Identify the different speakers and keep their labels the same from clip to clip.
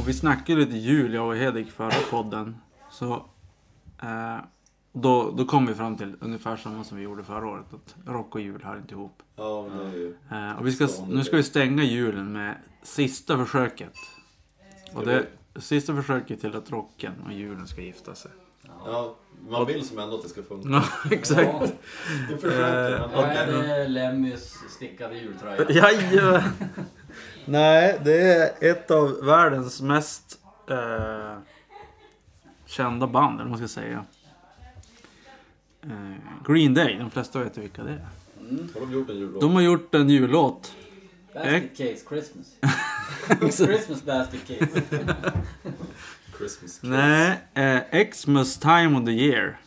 Speaker 1: Och vi snackade lite jul, jag och Hedvig, förra podden. Så eh, då, då kom vi fram till ungefär samma som vi gjorde förra året. Att rock och jul hör inte ihop.
Speaker 2: Ja, men det är ju...
Speaker 1: Eh, och vi ska, nu ska vi stänga julen med sista försöket. Och det sista försöket till att rocken och julen ska gifta sig.
Speaker 2: Ja, man vill som ändå att det ska funka.
Speaker 1: Ja, exakt.
Speaker 2: Du försöker,
Speaker 1: Mm. Eh,
Speaker 2: men
Speaker 3: Då
Speaker 2: man
Speaker 3: är
Speaker 2: kan
Speaker 3: det Lemmys stickade jultröja.
Speaker 1: Jajamän. Nej, det är ett av världens mest eh, kända band, eller vad man ska säga. Eh, Green Day, de flesta vet ju vilka det är.
Speaker 2: Har de gjort en jullåt?
Speaker 1: eh. De har gjort en jullåt.
Speaker 3: Basket case Christmas. Christmas basket case.
Speaker 2: Christmas Kiss.
Speaker 1: Nej, eh, Xmas time of the year.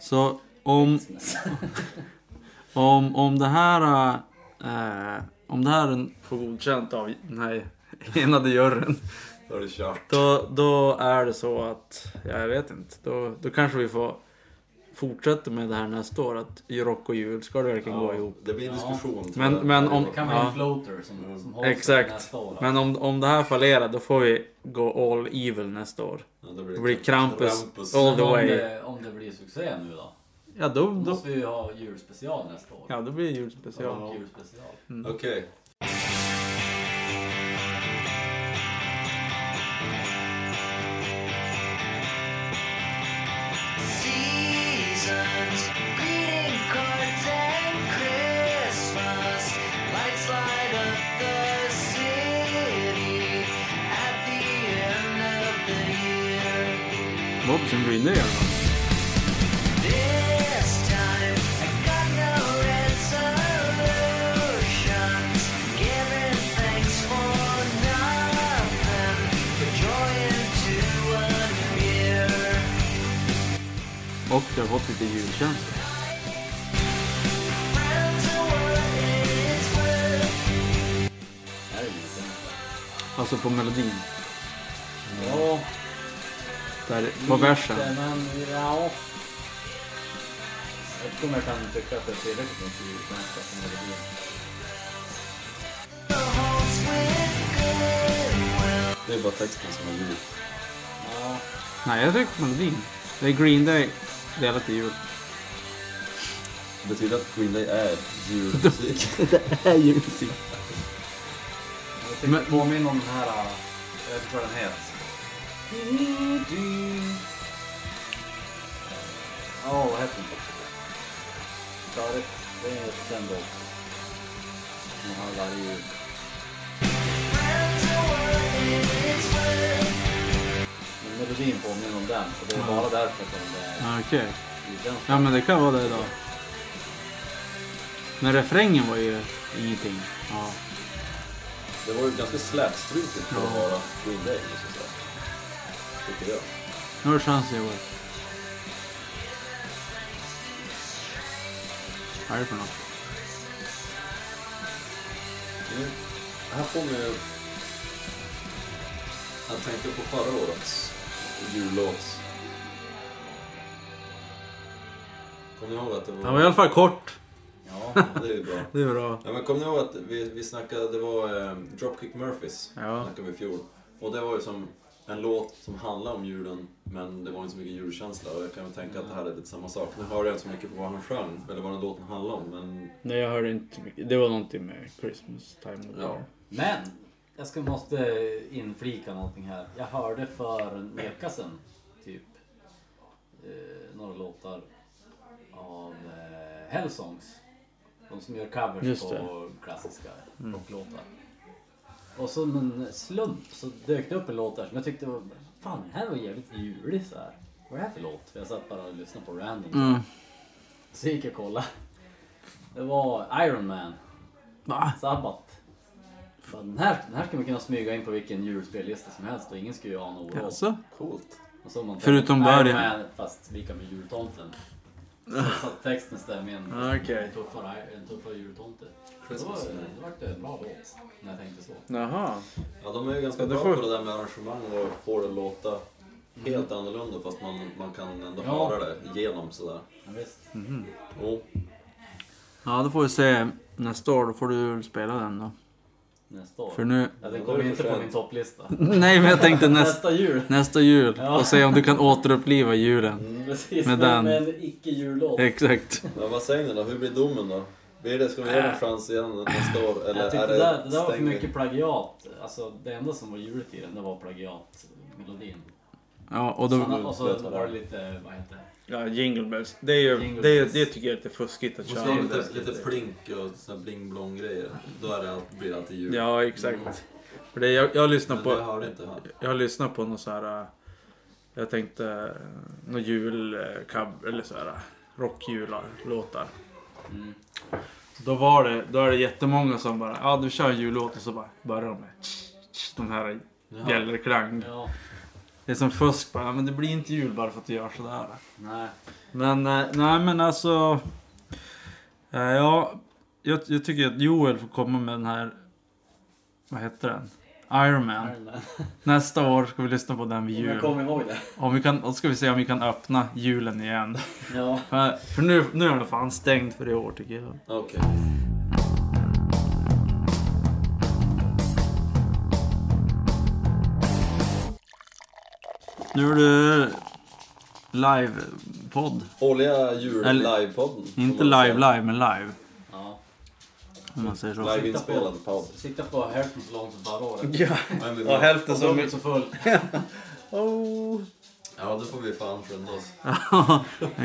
Speaker 1: Så om, om, om det här... Eh, om det här en- får godkänt av den här enade juryn.
Speaker 2: Då är det kört.
Speaker 1: Då, då är det så att, ja, jag vet inte, då, då kanske vi får fortsätta med det här nästa år. Att i rock och jul, ska det verkligen gå ihop?
Speaker 2: Det blir en diskussion. tror
Speaker 1: Men-
Speaker 2: jag.
Speaker 1: men om-
Speaker 3: Det kan vara
Speaker 1: Ja. Mm.
Speaker 3: en floater som, som hålls
Speaker 1: Exakt.
Speaker 3: nästa år.
Speaker 1: Men om, om det här fallerar då får vi gå all evil nästa år.
Speaker 2: Ja, då
Speaker 1: Då blir Krampus
Speaker 2: Krampus.
Speaker 1: all the
Speaker 3: om,
Speaker 1: way.
Speaker 3: det, om det blir succé nu då?
Speaker 1: Ja, då,
Speaker 3: Då
Speaker 1: då,
Speaker 3: måste vi ju ha julspecial nästa år.
Speaker 1: ja, Mm. då blir det julspecial.
Speaker 3: Och julspecial.
Speaker 2: Okej.
Speaker 4: Seasons, greeting cards and Christmas lights light up the city at the end of the year.
Speaker 1: Bobsen Green Day i alla fall.
Speaker 4: This time I got no resolutions, giving thanks for nothing, for joy into a new year.
Speaker 1: Och det har fått lite julkänsla.
Speaker 4: Friends are what it's worth.
Speaker 3: Här är julkänsla.
Speaker 1: Alltså på melodin.
Speaker 3: Ja,
Speaker 1: Där, på versen.
Speaker 3: lite, Men ja. Jag kommer kan tycka att det är tillräckligt mycket julkänsla som det blir.
Speaker 2: Det är bara texten som är ljud.
Speaker 3: Ja,
Speaker 1: Nej, jag tycker melodin. Det är Green Day delat i jul.
Speaker 2: Det betyder att Green Day är julmusik.
Speaker 3: jag tänkte
Speaker 1: Men-
Speaker 3: påminna om den här, jag vet inte vad den heter. Ja, vad heter den? Störigt. Det är ett känd låt. Som man hör varje jul. Men melodin påminner om den, så det är bara därför som det är
Speaker 1: Ah, Okej.
Speaker 3: julkänsla.
Speaker 1: Ja, men det kan vara det då. Men refrängen var ju ingenting. Ja.
Speaker 2: Det var ju ganska slätstruket för att vara Green Day, måste jag säga. Tycker jag.
Speaker 1: Nu har du chansen Joel. Vad är det för något?
Speaker 2: Mm. Det här får mig ju att tänka på förra årets jullåt. Kommer ni ihåg att det var...
Speaker 1: Den var i alla fall kort.
Speaker 3: Ja,
Speaker 2: Ja, det är ju bra.
Speaker 1: Det är bra.
Speaker 2: Ja, men kom ni ihåg att vi, vi snackade, det var eh, Dropkick Murphys,
Speaker 1: Ja.
Speaker 2: snackade vi i fjol. Och det var ju som en låt som handlade om julen, men det var inte så mycket julkänsla. Och jag kan väl tänka att det här är lite samma sak. Nu hörde jag inte så mycket på vad han sjöng, eller vad den låten handlade om, men
Speaker 1: Nej, jag hörde inte mycket. Det var någonting med Christmas time.
Speaker 2: Ja. year.
Speaker 3: Men jag ska, måste inflika någonting här. Jag hörde för en vecka sedan typ eh, några låtar av eh, Hellsongs. De som gör covers
Speaker 1: Just Mm.
Speaker 3: på klassiska rocklåtar. Och som en slump så dök det upp en låt där som jag tyckte var, fan den här var jävligt julig så här. Vad är det här för låt? För jag satt bara och lyssnade på random.
Speaker 1: Mm.
Speaker 3: Så gick jag och kollade. Det var Iron Man.
Speaker 1: Va?
Speaker 3: Sabbat. Fan, den, här, den här ska man kunna smyga in på vilken julspellista som helst och ingen skulle ju ana vad det var.
Speaker 1: Alltså?
Speaker 2: coolt.
Speaker 3: Och så har man
Speaker 1: Förutom
Speaker 3: tänkt,
Speaker 1: början.
Speaker 3: Iron Man, Fast lika med jultomten. Så att texten stämmer in.
Speaker 1: Okej.
Speaker 3: En tuffare, en tuffare jultomte. Då var
Speaker 2: Christmas.
Speaker 3: det- då vart det en bra låt. När jag tänkte så.
Speaker 1: Jaha.
Speaker 2: Ja, de är ju ganska
Speaker 1: Ja, det
Speaker 2: bra
Speaker 1: får-
Speaker 2: på det där med arrangemang och får det låta Helt annorlunda fast man, man kan ändå
Speaker 3: Ja.
Speaker 2: höra det igenom sådär.
Speaker 3: Ja, visst.
Speaker 2: Jo,
Speaker 1: Ja, då får vi se nästa år. Då får du väl spela den då.
Speaker 3: Nästa år.
Speaker 1: För nu...
Speaker 3: Ja, den
Speaker 2: Då är
Speaker 3: kommer
Speaker 2: det
Speaker 3: inte
Speaker 2: för
Speaker 3: på
Speaker 2: sent.
Speaker 3: min topplista.
Speaker 1: Nej, men jag tänkte nästa,
Speaker 3: Nästa jul.
Speaker 1: nästa jul.
Speaker 3: Ja.
Speaker 1: Och se om du kan återuppliva julen.
Speaker 3: Precis,
Speaker 1: Med
Speaker 3: med,
Speaker 1: den.
Speaker 3: med en icke-jullåt.
Speaker 1: Exakt.
Speaker 2: men vad säger ni då? Hur blir domen då? Blir det, ska vi ge den en chans igen nästa år? Eller
Speaker 3: Jag
Speaker 2: är
Speaker 3: tyckte
Speaker 2: det,
Speaker 3: det, där, det där var för
Speaker 2: stänger vi?
Speaker 3: mycket plagiat. Alltså det enda som var juligt i den, det var plagiatmelodin.
Speaker 1: Ja, och
Speaker 3: Såna-
Speaker 1: då...
Speaker 3: Och så var det lite, vad heter det?
Speaker 5: Ja, jingle bells. Det, är ju,
Speaker 3: Jingle
Speaker 5: det, är-
Speaker 3: bells.
Speaker 5: det tycker jag är lite fuskigt att
Speaker 2: Och så har vi
Speaker 5: köra.
Speaker 2: lite, lite plink och sådär bling-blong grejer. Då är det, allt- blir det alltid jul.
Speaker 5: Ja, exakt. För det, jag, jag lyssnar
Speaker 2: Men det
Speaker 5: på...
Speaker 2: hör det inte här.
Speaker 5: Jag lyssnar på någon så här... äh, Jag tänkte äh, någon jul, äh, cab, eller så här äh, rockjullåtar.
Speaker 3: Mm.
Speaker 1: Då var det... Då är det jättemånga som bara... Ja, du kör en jullåt och så bara börjar de med... De här
Speaker 2: Jaha.
Speaker 1: bjällerklang.
Speaker 3: Ja,
Speaker 1: Det är som fusk bara. Ja, men det blir inte jul bara för att du gör sådär.
Speaker 3: nej.
Speaker 1: Men eh, nej men alltså. eh, Ja, jag, jag tycker att Joel får komma med den här. Vad heter den? Iron Man.
Speaker 3: Ireland.
Speaker 1: Nästa år ska vi lyssna på den vid
Speaker 3: Om jag
Speaker 1: jul.
Speaker 3: kommer ihåg det.
Speaker 1: Om vi kan, då ska vi se om vi kan öppna julen igen.
Speaker 3: Ja.
Speaker 1: För, för nu, nu är den fan stängd för i år tycker jag.
Speaker 2: Okej.
Speaker 1: Nu är det live-podd.
Speaker 2: Årliga jul
Speaker 1: Eller-
Speaker 2: livepodden. får
Speaker 1: Inte
Speaker 2: man väl
Speaker 1: live
Speaker 2: säga.
Speaker 1: live men live.
Speaker 3: ja.
Speaker 1: Om man säger så.
Speaker 2: Liveinspelad podd.
Speaker 3: Sikta på hälften så långt som förra året.
Speaker 5: Ja,
Speaker 2: Men vi-
Speaker 5: och hälften
Speaker 3: Och
Speaker 5: så
Speaker 3: dubbelt
Speaker 5: mycket.
Speaker 3: så full.
Speaker 5: Oh.
Speaker 2: Ja, det får vi fan skynda oss. Vi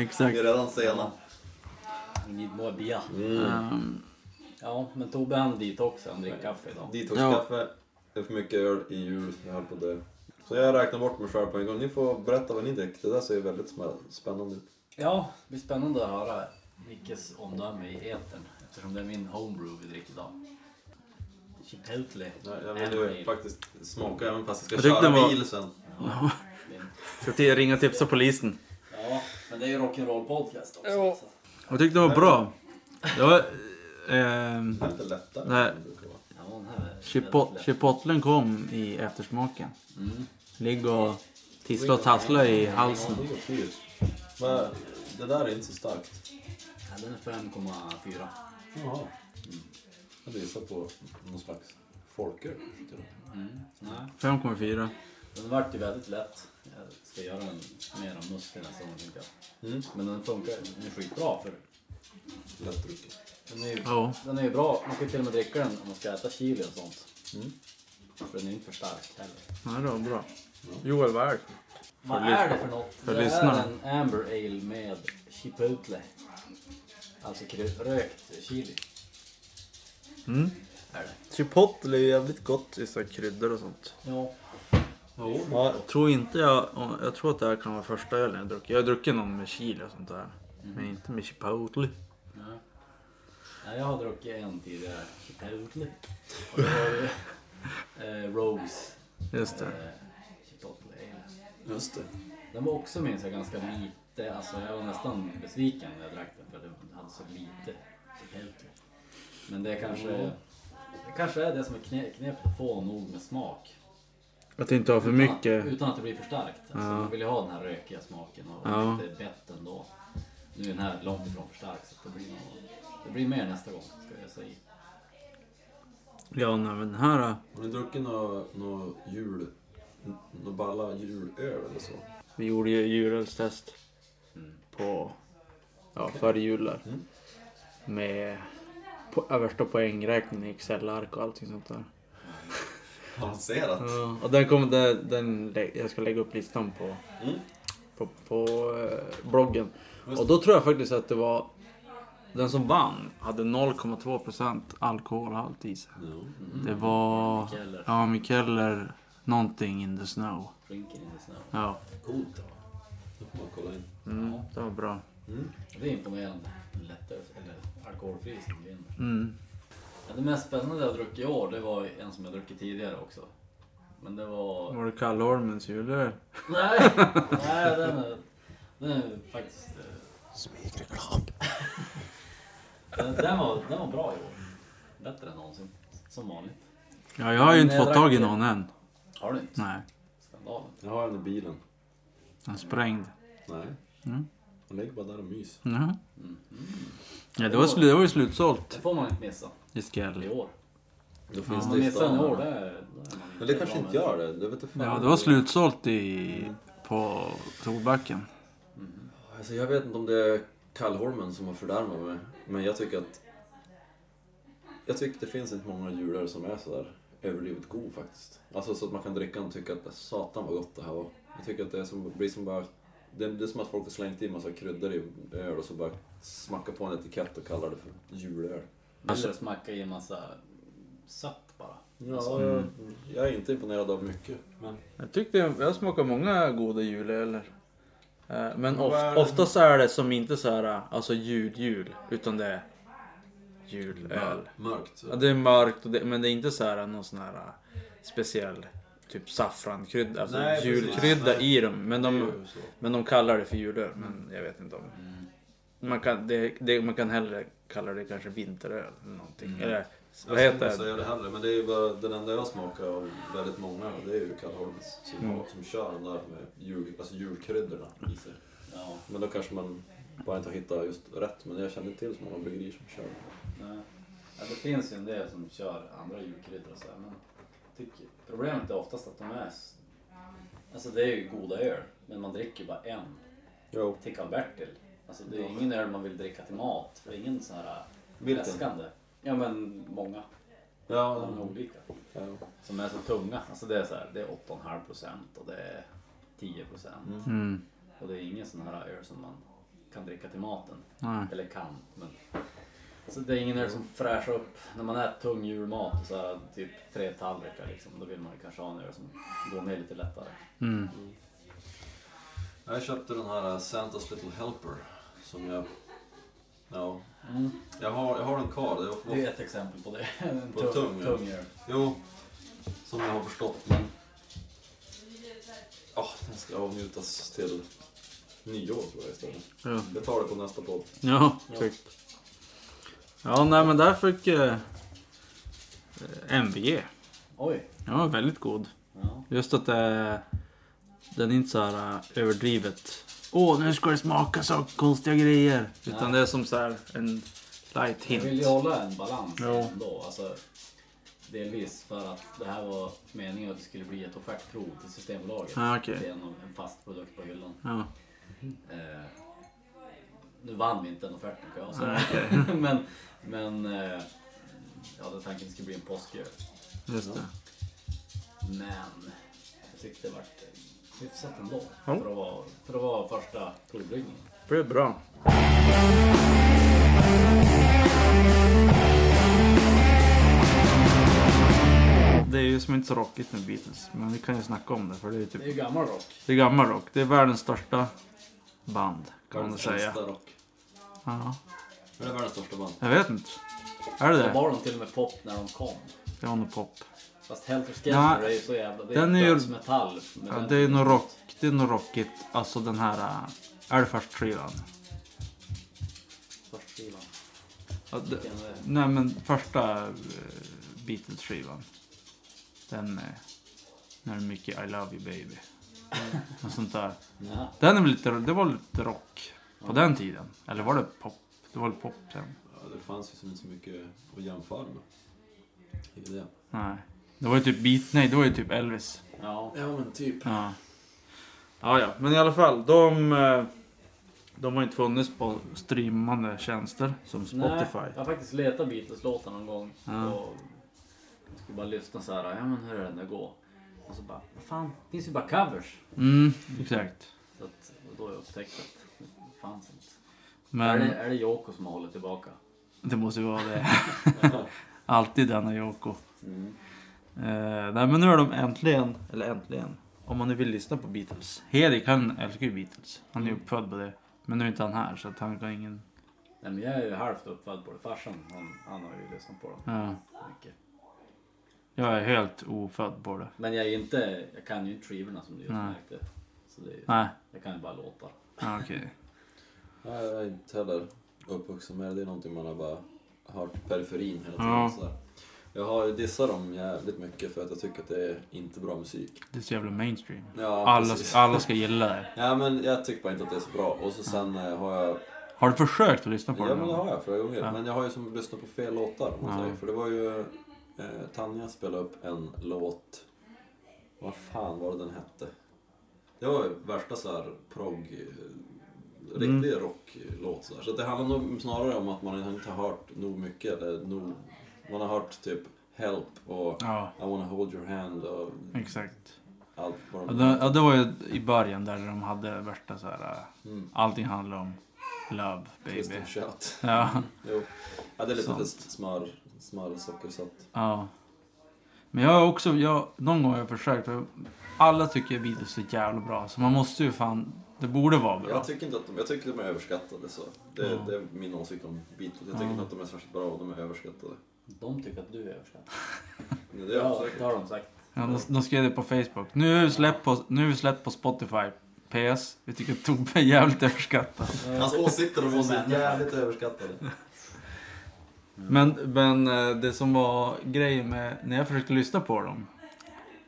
Speaker 1: Exakt.
Speaker 2: är redan sena.
Speaker 3: We need more beer.
Speaker 1: Ehm,
Speaker 3: Ja, men Tobbe han dit också. Han dricker kaffe idag.
Speaker 2: Detoxkaffe. Det är för mycket öl i jul, jag höll på det. Så jag räknar bort mig själv på en gång. Ni får berätta vad ni dricker. Det där ser ju väldigt smä- spännande ut.
Speaker 3: Ja, det blir spännande att höra Nickes omdöme i etern. Eftersom det är min homebrew vi dricker idag. Chipotle.
Speaker 2: Jag, jag vill ju faktiskt smaka även fast jag
Speaker 1: Jag
Speaker 2: ska
Speaker 1: tyckte
Speaker 2: köra
Speaker 1: det var-
Speaker 2: bil sen.
Speaker 1: Ska till- ringa
Speaker 5: typ
Speaker 1: och tipsa polisen.
Speaker 3: Ja, men det är ju rock'n'roll podcast också. Ja.
Speaker 1: Jag tyckte det var bra. Det var... ehm,
Speaker 2: Det är lite lättare.
Speaker 1: Nej.
Speaker 2: än det brukar vara.
Speaker 3: Ja, den här är
Speaker 1: chipot-
Speaker 3: väldigt lätt.
Speaker 1: chipotlen kom i eftersmaken.
Speaker 3: Mm.
Speaker 1: Ligg och tissla och tassla i halsen.
Speaker 2: Det går fyrt. Men det där är inte så starkt.
Speaker 3: Ja, den är 5,4.
Speaker 2: Jaha. Mm. Jag visar på någon slags folköl. tycker jag.
Speaker 3: Mm. Nej,
Speaker 1: 5,4.
Speaker 3: den vart ju väldigt lätt. Jag ska göra en mer av mustig nästa gång tänkte jag.
Speaker 2: Mm.
Speaker 3: Men den funkar den är skitbra för
Speaker 2: Lättdrucket.
Speaker 3: den är ju,
Speaker 1: Ja.
Speaker 3: den är ju bra. Man kan ju till och med dricka den om man ska äta chili och sånt.
Speaker 2: Mm.
Speaker 3: För den är inte för stark heller.
Speaker 1: Ja, det var bra.
Speaker 5: Joel, vad är det?
Speaker 3: Vad
Speaker 1: lys-
Speaker 3: är det för något?
Speaker 1: för
Speaker 3: det
Speaker 1: lyssnarna.
Speaker 3: är en Amber Ale med chipotle. Alltså kry- rökt chili.
Speaker 1: Mm.
Speaker 3: Är det.
Speaker 1: Chipotle är jävligt gott i så här kryddor och sånt.
Speaker 3: Ja.
Speaker 1: Ja, jag tror inte jag... Jag tror att det här kan vara första ölen jag druckit. Jag har druckit någon med chili och sånt där. Men inte med chipotle.
Speaker 3: Nej. Nej, jag har druckit en tidigare. Chipotle. Och det var ju, eh, Rose.
Speaker 1: Just
Speaker 3: Eh,
Speaker 1: det.
Speaker 3: chipotle ale.
Speaker 2: Just det.
Speaker 3: Den var också minns jag ganska lite. Alltså jag var nästan besviken när jag drack den för den hade så lite chipotle. Men det kanske, det kanske är det som är kne- knepet att få nog med smak.
Speaker 1: Att inte ha för
Speaker 3: Utan att-
Speaker 1: mycket.
Speaker 3: Utan att det blir för starkt. Alltså,
Speaker 1: Ja.
Speaker 3: Man vill ju ha den här rökiga smaken och
Speaker 1: Ja.
Speaker 3: lite bett ändå. Nu är den här långt ifrån för stark så det blir, nog- det blir mer nästa gång ska jag säga.
Speaker 1: Ja, nej, men den här...
Speaker 2: Har ni druckit några nå jul... n- Nå balla julöl eller så?
Speaker 1: Vi gjorde ju djurölstest på ja, före jul där.
Speaker 2: Mm.
Speaker 1: Med på, ja, värsta poängräkningen i Excel-ark och allting sånt där.
Speaker 2: Avancerat.
Speaker 1: Ja, och den kommer, den, den, lä- jag ska lägga upp listan på,
Speaker 2: Mm.
Speaker 1: på, på eh, bloggen.
Speaker 2: Just
Speaker 1: Och då tror jag faktiskt att det var den som vann hade 0,2% alkoholhalt i sig.
Speaker 2: Ja.
Speaker 1: Det
Speaker 3: Mm.
Speaker 1: var
Speaker 3: Mikeller.
Speaker 1: ja, Mikeller någonting in the snow.
Speaker 3: Drinking in the snow.
Speaker 1: Ja,
Speaker 2: Coolt. då. Då får man kolla in.
Speaker 1: mm, det var bra.
Speaker 2: Mm.
Speaker 3: Det är imponerande. Lättare, eller alkoholfri som vinner.
Speaker 1: Mm.
Speaker 3: Ja, det mest spännande jag druckit i år det var en som jag druckit tidigare också. Men det var...
Speaker 1: Var det Kallholmens julöl?
Speaker 3: Nej! Nej den är, den är faktiskt... eh,
Speaker 2: Smygreklam.
Speaker 3: Den, den, var, den var bra i år. Bättre än någonsin. Som vanligt.
Speaker 1: Ja, jag har ju
Speaker 3: Men
Speaker 1: inte
Speaker 3: jag
Speaker 1: fått tag i
Speaker 3: drack-
Speaker 1: någon än.
Speaker 3: Har du inte?
Speaker 1: Nej.
Speaker 3: Skandalen.
Speaker 2: Jag har en i bilen.
Speaker 1: nästan sprängd.
Speaker 2: Nej.
Speaker 1: Mm.
Speaker 2: Hon ligger bara där och mys.
Speaker 1: Jaha.
Speaker 3: Mm.
Speaker 1: Mhm. Ja, det, var, slu- det var ju slutsålt
Speaker 3: Det får man inte missa
Speaker 1: i
Speaker 3: i
Speaker 1: Skell.
Speaker 3: år.
Speaker 2: Då
Speaker 3: Om
Speaker 2: finns
Speaker 3: man
Speaker 2: det i
Speaker 3: missar i
Speaker 2: stan.
Speaker 3: år, det är, det är man
Speaker 2: Men det
Speaker 3: bra
Speaker 2: kanske inte
Speaker 3: med.
Speaker 2: gör det. det vet du fan.
Speaker 1: Ja, det var slutsålt i, på Solbacken.
Speaker 2: Alltså, jag vet inte om det är kallholmen som har fördärvat mig. Men jag tycker att... Jag tycker det finns inte många jular som är sådär överdrivet god faktiskt. Alltså så att man kan dricka och tycka att satan vad gott det här var. Jag tycker att det är som, blir som bara... Det är, det är som att folk har slängt i massa kryddor i öl och så bara smackar på en etikett och kallar det för julöl.
Speaker 3: Eller smacka i en massa sött bara. Alltså,
Speaker 2: Ja, jag, jag är inte imponerad av mycket. Men...
Speaker 5: Jag tyckte jag smakade många goda julöler. Eh, Men of,
Speaker 2: Vad är det?
Speaker 5: oftast är det som inte så här, alltså jul-jul, utan det är julöl.
Speaker 2: Eh, Mörkt.
Speaker 5: Ja, det är mörkt, och det, men det är inte så här någon sån här eh, speciell typ saffrankrydda, alltså
Speaker 2: Nej, precis.
Speaker 5: julkrydda
Speaker 2: Nej.
Speaker 5: i dem. Men
Speaker 2: Det är
Speaker 5: de,
Speaker 2: ju så.
Speaker 5: men de kallar det för julöl, men jag vet inte om...
Speaker 2: Mm.
Speaker 5: Man kan, det, det, man kan hellre kalla det kanske vinteröl eller någonting. Eller, vad
Speaker 2: Mm. Jag skulle
Speaker 5: heter
Speaker 2: inte
Speaker 5: det?
Speaker 2: säga det heller, men det är ju bara den enda jag smakar av väldigt många. Det är ju Kallholms som,
Speaker 5: Mm.
Speaker 2: har- som kör den där med jul, alltså julkryddorna i sig.
Speaker 3: Ja,
Speaker 2: Men då kanske man bara inte har hittat just rätt. Men jag känner inte till så många bryggerier som kör.
Speaker 3: nej. ja, det finns ju en del som kör andra julkryddor och så här, men jag tycker, problemet är oftast att de är... s- Alltså det är ju goda öl, men man dricker ju bara en
Speaker 2: Jo,
Speaker 3: till Karl-Bertil. Alltså det är ju ingen öl man vill dricka till mat, för det är ingen sån här
Speaker 2: Vilken? Mm.
Speaker 3: läskande. Ja men många,
Speaker 2: ja,
Speaker 3: de är olika.
Speaker 2: ja.
Speaker 3: Som är så tunga. Alltså det är så här, det är 8,5 procent och det är 10 procent.
Speaker 1: Mm.
Speaker 3: Och det är ingen sån här öl som man kan dricka till maten.
Speaker 1: Nej.
Speaker 3: Eller kan, men... Så det är ingen öl som fräschar upp. När man äter tung julmat, så här, typ tre tallrikar liksom, då vill man ju kanske ha en öl som går ner lite lättare.
Speaker 1: Mm.
Speaker 2: Jag köpte den här eh, Santas Little Helper som jag... Ja,
Speaker 3: Mm.
Speaker 2: jag har, jag har den kvar. Det var,
Speaker 3: Det är ett exempel på det. En
Speaker 2: På tung, ja.
Speaker 3: tung öl.
Speaker 2: Jo, som jag har förstått. Men... Ja, den ska avnjutas till nyår tror jag istället.
Speaker 1: Ja.
Speaker 2: Jag tar det på nästa podd.
Speaker 1: Ja, typ. Ja, nej men där fick eh, MVG.
Speaker 3: Oj!
Speaker 1: Den var väldigt god.
Speaker 3: Ja.
Speaker 1: Just att det, den är inte så här eh, överdrivet. Åh, nu ska det smaka så konstiga grejer. Utan
Speaker 3: Nej.
Speaker 1: det är som så här en light
Speaker 3: Jag vill
Speaker 1: hint.
Speaker 3: ju hålla en balans
Speaker 1: Ja.
Speaker 3: ändå. Alltså, delvis för att det här var meningen att det skulle bli ett offertprov till Systembolaget.
Speaker 1: Ja, okej.
Speaker 3: Det är en, en fast produkt på hyllan.
Speaker 1: Ja.
Speaker 3: Eh, nu vann vi inte den offerten kan jag säga. men men eh, jag hade tanken att det skulle bli en påsköl.
Speaker 1: Just det.
Speaker 3: Men jag tyckte det vart hyfsat ändå.
Speaker 5: Ja.
Speaker 3: För, att vara, för att vara första provbryggningen.
Speaker 5: Det blev bra.
Speaker 1: Det är ju som inte så rockigt med Beatles. Men vi kan ju snacka om det. För det är ju
Speaker 3: Det är
Speaker 1: typ,
Speaker 3: ju gammal rock.
Speaker 1: det är gammal rock. Det är världens största band. Kan man
Speaker 2: Världens
Speaker 1: säga.
Speaker 2: äldsta rock.
Speaker 1: Ja,
Speaker 2: Men det är världens största band.
Speaker 1: jag vet inte. Är det
Speaker 3: Då
Speaker 1: det?
Speaker 3: var de till och med pop när de kom.
Speaker 1: Det var nog pop.
Speaker 3: Fast Helter Skelter
Speaker 1: Ja,
Speaker 3: är ju så jävla... Det är
Speaker 1: den är
Speaker 3: ju
Speaker 1: ju-
Speaker 3: dödsmetall. men
Speaker 1: Ja,
Speaker 3: den-
Speaker 1: det är nog rock, det är nog rockigt. Alltså den här äh, Älvfors-trion.
Speaker 3: Första skivan.
Speaker 1: Ja, det-
Speaker 3: Vilken är det?
Speaker 1: Nej men första äh, Beatles-skivan. Den med, när det är mycket I love you baby. Och sånt där.
Speaker 3: Ja.
Speaker 1: Den är väl lite, det var lite rock på den tiden. Eller var det pop? Det var väl pop sen?
Speaker 2: Ja, det fanns ju som inte så mycket att jämföra med. Det är det.
Speaker 1: Nej. Det var ju typ Beat, nej det var ju typ Elvis.
Speaker 3: Ja.
Speaker 2: Ja men typ.
Speaker 1: Ja. Ja, ja. men i alla fall. De, eh, de har inte funnits på streamande tjänster som Spotify.
Speaker 3: Nej, jag har faktiskt letat Beatles-låtar någon gång.
Speaker 1: Ja.
Speaker 3: Och jag skulle bara lyssna så här. Ja men hur är den där gå? Och så bara, vad fan, det finns ju bara covers.
Speaker 1: Mm, exakt.
Speaker 3: Så att, och då har jag upptäckt att det fanns inte. Är, det,
Speaker 1: Men
Speaker 3: är det Yoko som har hållit tillbaka?
Speaker 1: det måste ju vara det. Alltid denna Yoko.
Speaker 2: Mm.
Speaker 1: Eh, nej men nu är de äntligen, eller äntligen, om man nu vill lyssna på Beatles. Hedik han älskar ju Beatles. Han är
Speaker 2: Mm.
Speaker 1: ju uppfödd på det. Men nu är inte han här så att han kan ingen...
Speaker 3: Nej men jag är ju halvt uppfödd på det. Farsan, han, han har ju lyssnat på dem
Speaker 1: Ja,
Speaker 3: mycket.
Speaker 1: jag är helt ofödd på det.
Speaker 3: Men jag är inte, jag kan ju inte skivorna som du just
Speaker 1: Nej.
Speaker 3: märkte. Så det, är-
Speaker 1: Nej,
Speaker 3: jag kan ju bara låtar.
Speaker 1: ja, okej.
Speaker 2: Nej, jag är inte heller uppvuxen med det. Det är någonting man har bara hört i periferin hela tiden.
Speaker 1: Ja.
Speaker 2: Sådär. Jag har ju dissat dem jävligt mycket för att jag tycker att det är inte bra musik.
Speaker 1: Det är så jävla mainstream.
Speaker 2: Ja,
Speaker 1: Alla,
Speaker 2: precis.
Speaker 1: alla ska gilla det.
Speaker 2: Ja, men jag tycker bara inte att det är så bra. Och så sen eh, har jag...
Speaker 1: Har du försökt att lyssna på
Speaker 2: Ja,
Speaker 1: det?
Speaker 2: men det har jag flera gånger.
Speaker 1: Ja.
Speaker 2: Men jag har ju som lyssnat på fel låtar, om man
Speaker 1: Ja.
Speaker 2: säger. För det var ju... Eh, Tanja spelade upp en låt... Vad fan var det den hette? Det var ju värsta så här prog... eh, Riktig
Speaker 1: Mm.
Speaker 2: rocklåt så, här. så att det handlar nog snarare om att man inte har hört nog mycket. Eller nog, man har hört typ Help och
Speaker 1: Ja,
Speaker 2: I wanna hold your hand och
Speaker 1: exakt.
Speaker 2: allt vad
Speaker 1: Ja,
Speaker 2: de...
Speaker 1: det, ja, det var ju i början där de hade värsta så här. äh,
Speaker 2: Mm.
Speaker 1: Allting handlar om love baby.
Speaker 2: Kristen Shout.
Speaker 1: Ja,
Speaker 2: Jo. Ja, det är lite
Speaker 1: Sant.
Speaker 2: för smör, smör sockersatt.
Speaker 1: ja. Men jag har också, jag, någon gång har jag försökt. för Alla tycker Beatles är jävla bra. Så man måste ju fan, det borde vara bra.
Speaker 2: Jag tycker inte att de, jag tycker att de är överskattade så. Det,
Speaker 1: Ja.
Speaker 2: det är min åsikt om Beatles. Jag tycker
Speaker 1: Ja.
Speaker 2: inte att de är särskilt bra och de är överskattade.
Speaker 3: De tycker att du är överskattad.
Speaker 2: Men Det är
Speaker 3: Ja,
Speaker 2: ja,
Speaker 3: det har de sagt.
Speaker 1: Ja, de, de skrev det på Facebook. Nu är vi släppt på, nu är vi släppt på Spotify. PS, vi tycker att Tobbe är jävligt överskattad.
Speaker 2: Hans åsikter om oss är
Speaker 3: Men-
Speaker 2: jävligt överskattade.
Speaker 1: Men, men eh, det som var grejen med när jag försökte lyssna på dem.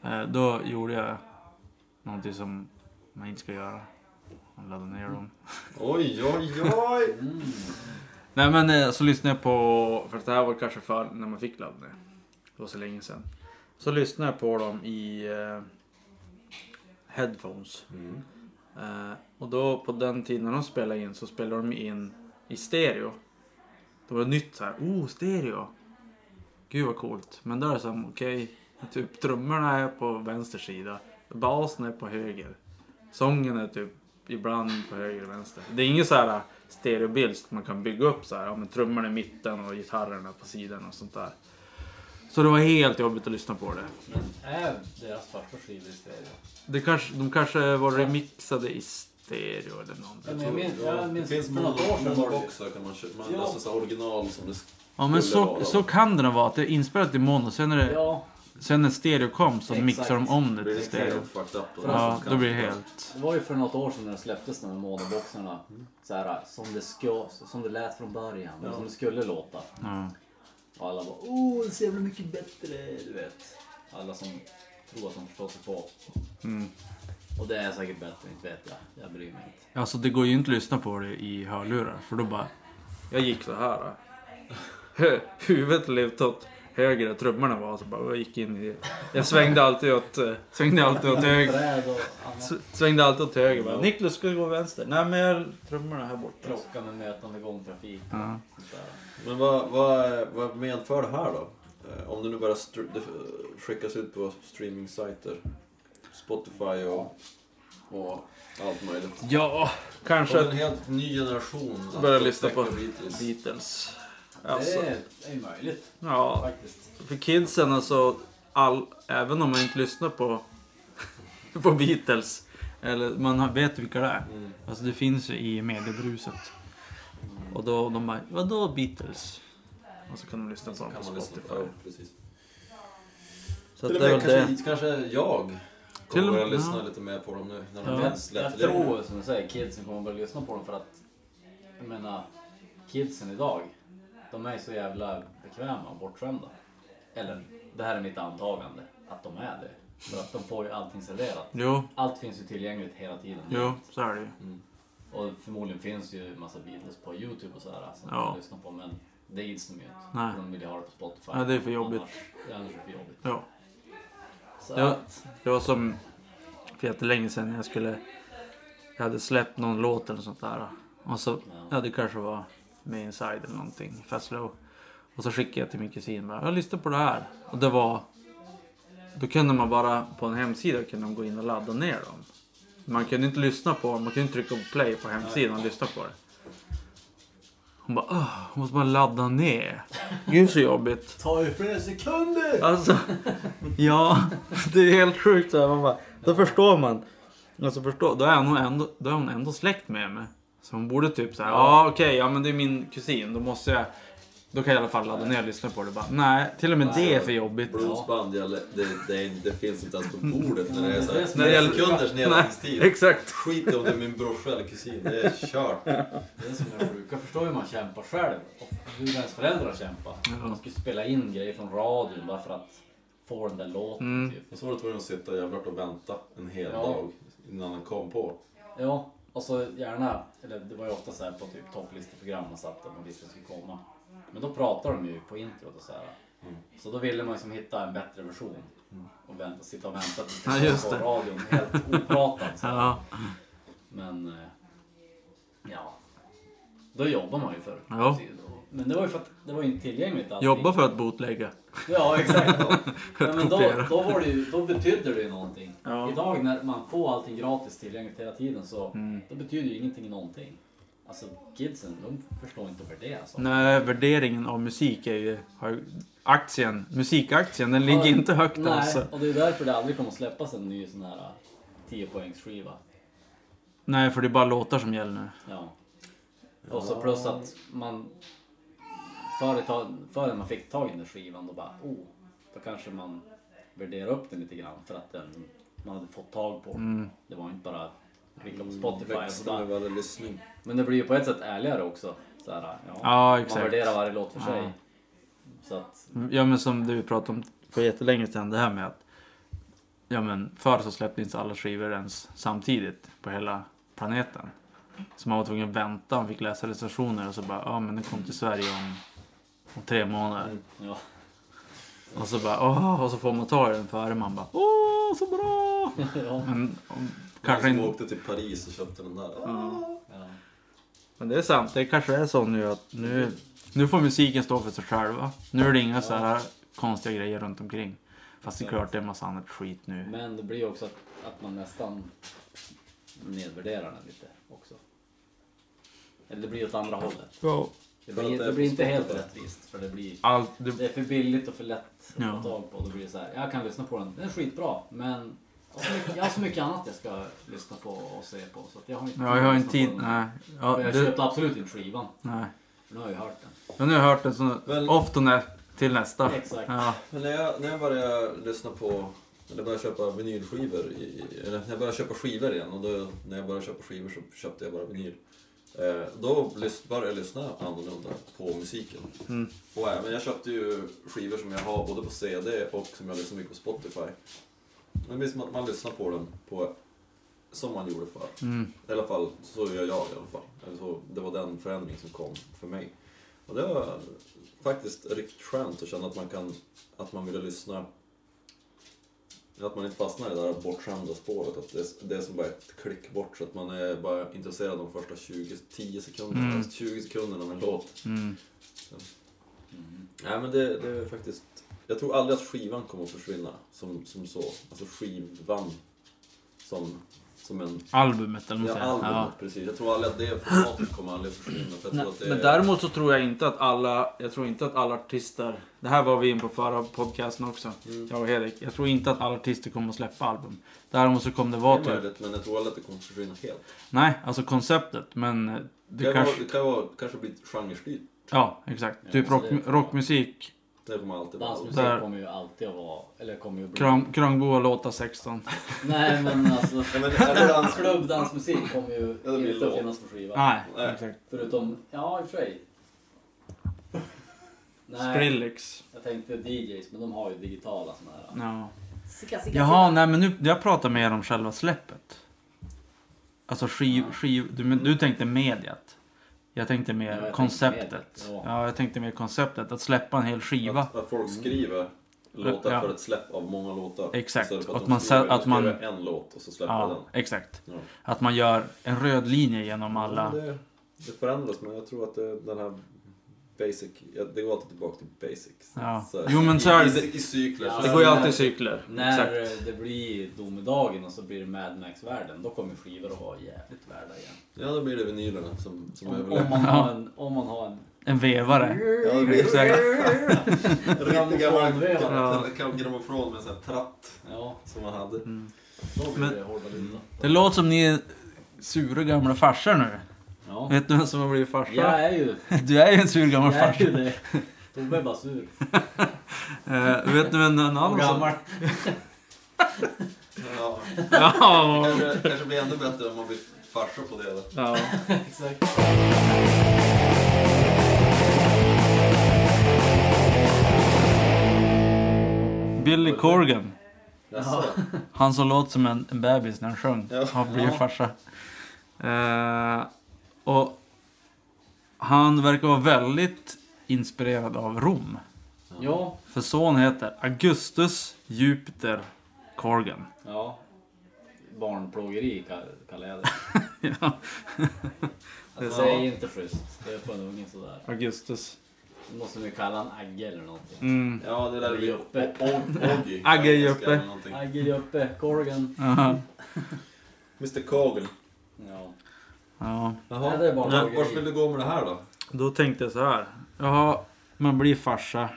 Speaker 1: eh, Då gjorde jag någonting som man inte ska göra. Jag laddade ner dem.
Speaker 2: Oj, oj, oj!
Speaker 3: Mm.
Speaker 5: Nej men eh, så lyssnade jag på, för det här var kanske för när man fick ladda ner. Det var så länge sedan. Så lyssnade jag på dem i eh, headphones.
Speaker 2: Mm.
Speaker 5: Eh, och då på den tiden när de spelade in så spelade de in i stereo. Det var nytt så här, oh stereo. Gud vad coolt. Men där är det så här, okej, typ trummorna är på vänster sida. Basen är på höger. Sången är typ ibland på höger och vänster. Det är ingen så här äh, stereobild som man kan bygga upp så här, ja men trummorna i mitten och gitarrerna på sidan och sånt där. Så det var helt jobbigt att lyssna på det.
Speaker 3: Är deras första skiva i stereo?
Speaker 5: det kanske, de kanske var remixade i stereo eller någonting.
Speaker 3: Ja, men jag minns, jag
Speaker 2: Det
Speaker 3: minns
Speaker 2: finns
Speaker 3: för några år sedan var det
Speaker 2: monoboxar kan man köpa. Man,
Speaker 3: Ja.
Speaker 2: Alltså så här original som det
Speaker 1: Ja men
Speaker 2: skulle
Speaker 1: så,
Speaker 2: vara.
Speaker 1: så kan det nog vara. Att det är inspelat i mono. Sen, är
Speaker 3: ju-
Speaker 1: det,
Speaker 3: Ja,
Speaker 1: sen när stereo kom så
Speaker 3: Exakt.
Speaker 1: mixade de om det
Speaker 2: blir
Speaker 1: till
Speaker 2: lite
Speaker 1: stereo.
Speaker 2: helt fucked up. och
Speaker 1: Ja,
Speaker 2: så
Speaker 1: då blir det
Speaker 2: kanske-
Speaker 1: helt...
Speaker 3: det var ju för något år sedan när det släpptes de här monoboxarna. Så här, som det ska, som det lät från början, eller som det skulle låta.
Speaker 1: Ja.
Speaker 3: Och alla bara åh, det är så jävla mycket bättre, du vet. Alla som tror att de förstår sig på.
Speaker 1: Mm.
Speaker 3: Och det är säkert bättre, inte vet jag. Jag bryr mig inte.
Speaker 1: Alltså det går ju inte att lyssna på det i hörlurar. För då bara...
Speaker 5: Jag gick så här. då. Hu- Huvudet lutade åt höger och trummorna var så bara, jag gick in i... Jag svängde alltid åt, eh, svängde alltid åt höger.
Speaker 3: Träd och annat.
Speaker 5: S- Svängde alltid åt höger bara, Niklas ska gå vänster. Nej men jag trummorna här borta.
Speaker 3: Klocka med mötande gångtrafik.
Speaker 1: Ja.
Speaker 3: Sånt där.
Speaker 2: Men vad, vad, vad medför det här då? Eh, Om det nu bara str- det eh, skickas ut på streaming-sajter. Spotify och, och allt möjligt.
Speaker 5: Ja, kanske
Speaker 2: Kanske en
Speaker 5: att
Speaker 2: helt ny generation att
Speaker 5: börja lyssna på
Speaker 2: upptäcka Beatles.
Speaker 5: Beatles. Alltså,
Speaker 3: Det är- det är möjligt
Speaker 5: ja.
Speaker 3: faktiskt.
Speaker 5: För kidsen alltså, all, även om man inte lyssnar på, på Beatles.
Speaker 1: Eller man har- vet vilka det är.
Speaker 2: Mm.
Speaker 1: Alltså det finns ju i mediebruset. Och då de bara, vadå Beatles?
Speaker 5: Och så kan de lyssna på dem på
Speaker 2: Kan man lyssna
Speaker 5: Spotify.
Speaker 2: på. Ja, precis.
Speaker 1: Så att
Speaker 2: Till och
Speaker 1: det är
Speaker 2: med
Speaker 1: väl det.
Speaker 2: kanske, kanske jag
Speaker 1: Till
Speaker 2: kommer
Speaker 1: och-
Speaker 2: börja lyssna
Speaker 1: ja.
Speaker 2: lite mer på dem nu när de
Speaker 1: Ja.
Speaker 2: finns
Speaker 3: Jag
Speaker 2: lättillgängliga.
Speaker 3: tror som du säger, kidsen kommer börja lyssna på dem för att jag menar, kidsen idag, de är så jävla bekväma och bortskämda. Eller, det här är mitt antagande, att de är det. För att de får ju allting serverat.
Speaker 1: Jo,
Speaker 3: Allt finns ju tillgängligt hela tiden.
Speaker 1: jo, så är det ju.
Speaker 2: Mm.
Speaker 3: Och förmodligen finns ju en massa Beatles på Youtube och sådär som
Speaker 1: Ja.
Speaker 3: de kan lyssna på men det gills de ju inte.
Speaker 1: Nej.
Speaker 3: För De vill ju ha det på Spotify.
Speaker 1: Ja, det är för jobbigt.
Speaker 3: Annars, annars är det för jobbigt.
Speaker 1: Ja.
Speaker 3: Så
Speaker 1: Ja.
Speaker 3: att,
Speaker 1: Det var som för jättelänge sedan när jag skulle... Jag hade släppt någon låt eller sånt där. Och så, ja det kanske var med Inside eller någonting, Fast Slow. Och så skickade jag till min kusin bara, jag lyssnar på det här. Och det var... Då kunde man bara, på en hemsida kunde man gå in och ladda ner dem. Man kunde inte lyssna på man kunde inte trycka på play på hemsidan och lyssna på det. Hon bara, åh, måste man ladda ner? Gud så jobbigt.
Speaker 3: ta ju flera sekunder!
Speaker 1: Alltså, ja, det är helt sjukt. Så här, man bara, då förstår man. Alltså, förstå, då, är hon ändå, då är hon ändå släkt med mig. Så hon borde typ så här, ja okej, ja men det är min kusin, då måste jag Då kan jag i alla fall ladda ner och lyssna på det. Bara, nej, till och med det är för jobbigt.
Speaker 2: Bluesband, jag, lä- det, det, är- det finns inte ens på bordet när det är
Speaker 3: Det är
Speaker 2: såhär.
Speaker 3: så-
Speaker 2: När det gäller kunders nedladdningstid.
Speaker 5: Exakt.
Speaker 2: Skit i om det är min brorsa eller kusin, det är kört.
Speaker 3: Det är som jag brukar förstå hur man kämpar själv och hur ens föräldrar kämpar. De skulle spela in grejer från radion bara för att få den där låten
Speaker 1: Mm.
Speaker 3: typ.
Speaker 2: Och så var det tvungen att sitta jävla och vänta en hel
Speaker 3: Ja.
Speaker 2: dag innan den kom på.
Speaker 3: Ja, och så gärna, eller det var ju ofta så här på typ topplisteprogram man satt och man visste skulle komma. Men då pratade de ju på introt och så här. Så då ville man liksom hitta en bättre version. Och vänta, sitta och vänta tills
Speaker 1: Ja,
Speaker 3: det
Speaker 1: just
Speaker 3: kom på
Speaker 1: det.
Speaker 3: radion helt opratad. Så. här.
Speaker 1: Ja,
Speaker 3: Men eh, ja, då jobbar man ju för
Speaker 1: Ja.
Speaker 3: Men det var ju för att det var ju inte tillgängligt. allting.
Speaker 5: Jobba för att botlägga.
Speaker 3: Ja, exakt. Ja, men då,
Speaker 5: kopiera.
Speaker 3: då, var det ju, då betydde det ju någonting.
Speaker 5: Ja.
Speaker 3: Idag när man får allting gratis tillgängligt hela tiden så
Speaker 1: Mm.
Speaker 3: då betyder ju ingenting någonting. Alltså kidsen, de förstår inte att värdera alltså.
Speaker 1: Nej, värderingen av musik är ju... Har, ju- aktien, musikaktien, den ligger
Speaker 3: Ja,
Speaker 1: inte högt
Speaker 3: Nej,
Speaker 1: alltså.
Speaker 3: och det är därför det aldrig kommer att släppas en ny sån här eh, 10-poängsskiva.
Speaker 1: Nej, för det är bara låtar som gäller nu.
Speaker 3: Ja. Och så plus att man företag, före man fick tag i den där skivan då bara oh, då kanske man värderar upp den lite grann för att den, man hade fått tag på. Det var inte bara klicka på Spotify. och så
Speaker 2: Mm, Växte
Speaker 3: bara,
Speaker 2: med varje lyssning.
Speaker 3: Men det blir ju på ett sätt ärligare också. Så här, ja,
Speaker 1: Ja,
Speaker 3: Man
Speaker 1: exakt.
Speaker 3: värderar varje låt för sig. Så att,
Speaker 1: Ja men som du pratade om för jättelänge sedan det här med att Ja men förr så släppte inte alla skivor ens samtidigt på hela planeten. Så man var tvungen att vänta, man fick läsa recensioner och så bara ja men den kom till Sverige om, om tre månader.
Speaker 3: ja.
Speaker 1: Och så bara åh, och så får man ta i den före man bara åh så bra!
Speaker 3: ja.
Speaker 1: Men om, kanske
Speaker 2: Kanske
Speaker 3: Alltså,
Speaker 2: som
Speaker 1: inte.
Speaker 2: åkte till Paris och köpte den där.
Speaker 3: ja.
Speaker 1: Men det är sant, det kanske är så nu att nu, nu får musiken stå för sig själva. Nu är det inga så här konstiga grejer runt omkring. Fast det är klart det är en massa annat skit nu.
Speaker 3: Men det blir ju också att, att man nästan nedvärderar den lite också. Eller det blir åt andra hållet.
Speaker 1: Ja.
Speaker 3: Det
Speaker 2: För att
Speaker 3: blir,
Speaker 2: det är
Speaker 3: det blir
Speaker 2: på
Speaker 3: inte helt
Speaker 2: Spotify.
Speaker 3: rättvist för det blir
Speaker 1: Allt, det,
Speaker 3: det är för billigt och för lätt
Speaker 1: Ja.
Speaker 3: att få tag på. Då blir det så här, jag kan lyssna på den, den är skitbra men jag har så mycket, jag har så mycket annat jag ska lyssna på och se på så att jag har inte
Speaker 1: ja, jag har
Speaker 3: att
Speaker 1: en
Speaker 3: lyssna
Speaker 1: tid...
Speaker 3: på den.
Speaker 1: Nej. Ja,
Speaker 3: Och jag
Speaker 1: du,
Speaker 3: köpte absolut inte skivan,
Speaker 1: nej.
Speaker 3: för nu har jag ju hört den.
Speaker 1: Men nu har jag hört den så
Speaker 2: Väl-
Speaker 1: ofta nä, till nästa.
Speaker 3: Exakt.
Speaker 1: Ja.
Speaker 2: Men när jag, när jag började lyssna på, eller började köpa vinylskivor, i- i- eller när jag började köpa skivor igen och då, när jag började köpa skivor så köpte jag bara vinyl. Eh, då lys- började jag lyssna annorlunda på musiken.
Speaker 1: Mm,
Speaker 2: Och även, jag köpte ju skivor som jag har både på CD och som jag lyssnar mycket på Spotify. Det blir som att man lyssnar på den på, som man gjorde förr.
Speaker 1: mm,
Speaker 2: I alla fall, så gör jag i alla fall. Eller Så, det var den förändring som kom för mig. Och det var faktiskt riktigt skönt att känna att man kan, att man ville lyssna. Att man inte fastnar i det där bortskämda spåret, att det, det är som bara ett klick bort så att man är bara intresserad av de första 20, 10 sekunderna, 20 sekunderna med en låt.
Speaker 1: Mm.
Speaker 2: Så. Nej men det, det är faktiskt, jag tror aldrig att skivan kommer att försvinna som, som så, alltså skivan som, som en
Speaker 1: Albumet eller
Speaker 2: Ja,
Speaker 1: något
Speaker 2: albumet,
Speaker 1: ja.
Speaker 2: precis. Jag tror aldrig att det formatet kommer aldrig försvinna. För jag tror att det
Speaker 5: Men
Speaker 2: är-
Speaker 5: däremot så tror jag inte att alla, jag tror inte att alla artister, det här var vi in på förra podcasten också,
Speaker 2: Mm.
Speaker 5: jag och Hedek. Jag tror inte att alla artister kommer att släppa album. Däremot så kommer det
Speaker 2: det
Speaker 1: vara
Speaker 2: är
Speaker 1: typ,
Speaker 2: möjligt, men jag tror aldrig att det kommer att försvinna helt.
Speaker 1: nej alltså konceptet men eh, det
Speaker 2: Det,
Speaker 1: kanske,
Speaker 2: kan vara, det kan vara, kanske bli genrestyrt.
Speaker 1: ja exakt. Typ
Speaker 3: Ja, så
Speaker 1: rock,
Speaker 3: det-
Speaker 1: rockmusik,
Speaker 2: Det kommer alltid vara.
Speaker 3: Dansmusik
Speaker 1: Där.
Speaker 3: kommer ju alltid att vara, eller kommer ju att bli...
Speaker 1: Kram- Kramboa låta 16.
Speaker 3: Nej men alltså,
Speaker 2: Ja, men är det dans-
Speaker 3: klubb, dansmusik kommer ju
Speaker 2: Ja, det blir
Speaker 3: inte att
Speaker 2: låt.
Speaker 3: finnas på skivan.
Speaker 1: Nej,
Speaker 2: Nej.
Speaker 1: exakt.
Speaker 3: Förutom, ja i och för sig. Nej,
Speaker 5: Skrillex.
Speaker 3: jag tänkte DJs, men de har ju digitala såna här.
Speaker 1: Ja.
Speaker 3: Sicka, sicka,
Speaker 1: Jaha, nej men nu, jag pratar mer om själva släppet. Alltså skiv, skiv, du, men du tänkte mediet. Jag tänkte mer
Speaker 3: Ja, jag tänkte
Speaker 1: konceptet.
Speaker 3: mediet,
Speaker 1: ja.
Speaker 3: ja.
Speaker 1: jag tänkte mer konceptet. Att släppa en hel skiva.
Speaker 2: Att, att folk skriver låtar
Speaker 1: Mm. Ja.
Speaker 2: för ett släpp av många låtar.
Speaker 1: Exakt.
Speaker 2: Istället för
Speaker 1: Att
Speaker 2: att,
Speaker 1: man
Speaker 2: de skriver,
Speaker 1: sä- att
Speaker 2: att man
Speaker 1: man-
Speaker 2: skriver en låt och så släpper
Speaker 1: ja,
Speaker 2: den.
Speaker 1: exakt.
Speaker 2: Ja.
Speaker 1: Att man gör en röd linje genom alla.
Speaker 2: Men Det, det förändras, men jag tror att det, den här basic, ja, det går alltid tillbaka till basics.
Speaker 1: Ja.
Speaker 2: Så här,
Speaker 1: Jo, men så är
Speaker 2: i,
Speaker 1: det-
Speaker 2: i, i cykler.
Speaker 3: Ja,
Speaker 2: så
Speaker 5: Det
Speaker 2: här-
Speaker 5: går ju alltid i cykler.
Speaker 3: När
Speaker 5: Exakt.
Speaker 3: det blir domedagen och så blir det Mad Max-världen, då kommer skivor att vara jävligt värda igen.
Speaker 2: Ja, då blir det vinylerna som, som
Speaker 3: Om,
Speaker 2: överlever.
Speaker 3: om, man, har en, om man har en...
Speaker 1: En vevare.
Speaker 2: Ja, det blir
Speaker 1: Exakt.
Speaker 2: riktigt gammal
Speaker 1: Ja.
Speaker 2: ja. grammofon med en sån här tratt
Speaker 3: Ja,
Speaker 2: som man hade.
Speaker 3: Mm. då blir det hårda linjer.
Speaker 1: Det låter som ni är sura gamla farsor nu.
Speaker 3: Ja. Ja.
Speaker 1: Vet du vem som har blivit farsa?
Speaker 3: Jag är ju,
Speaker 1: Du är ju en sur gammal
Speaker 3: jag är
Speaker 1: farsa.
Speaker 3: ju det. Tobbe är bara sur.
Speaker 1: Eh, vet du vem en
Speaker 3: Och
Speaker 1: annan som...
Speaker 3: gammal.
Speaker 2: Ja,
Speaker 5: Ja.
Speaker 2: kanske, kanske blir ännu bättre om man blir farsa på det. Då.
Speaker 5: ja.
Speaker 3: Exakt.
Speaker 1: Billy Corgan.
Speaker 2: Jaså?
Speaker 1: Han som låt som en, en bebis när han sjöng.
Speaker 2: Ja.
Speaker 1: Har blivit farsa. Eh, och han verkar vara väldigt inspirerad av Rom.
Speaker 3: Ja.
Speaker 1: För son heter Augustus Jupiter Corgan.
Speaker 3: ja. Barnplågeri kall- kallar jag det. Alltså,
Speaker 1: Ja.
Speaker 3: Det säg inte schysst. Det är på en unge sådär.
Speaker 1: Augustus.
Speaker 3: Då måste vi kalla han Agge eller någonting.
Speaker 1: Mm.
Speaker 2: Ja, det där blir
Speaker 3: Joppe.
Speaker 2: Oggy.
Speaker 1: Agge
Speaker 2: Jag
Speaker 1: Joppe.
Speaker 2: ska göra någonting.
Speaker 3: Agge Joppe, Corgan.
Speaker 1: Aha.
Speaker 2: Mr Kogel.
Speaker 3: Ja.
Speaker 1: Ja.
Speaker 3: Nej, det är bara
Speaker 2: Men
Speaker 3: Oggy.
Speaker 2: Vart vill du gå med det här då?
Speaker 1: Då tänkte jag så här. Ja, man blir farsa.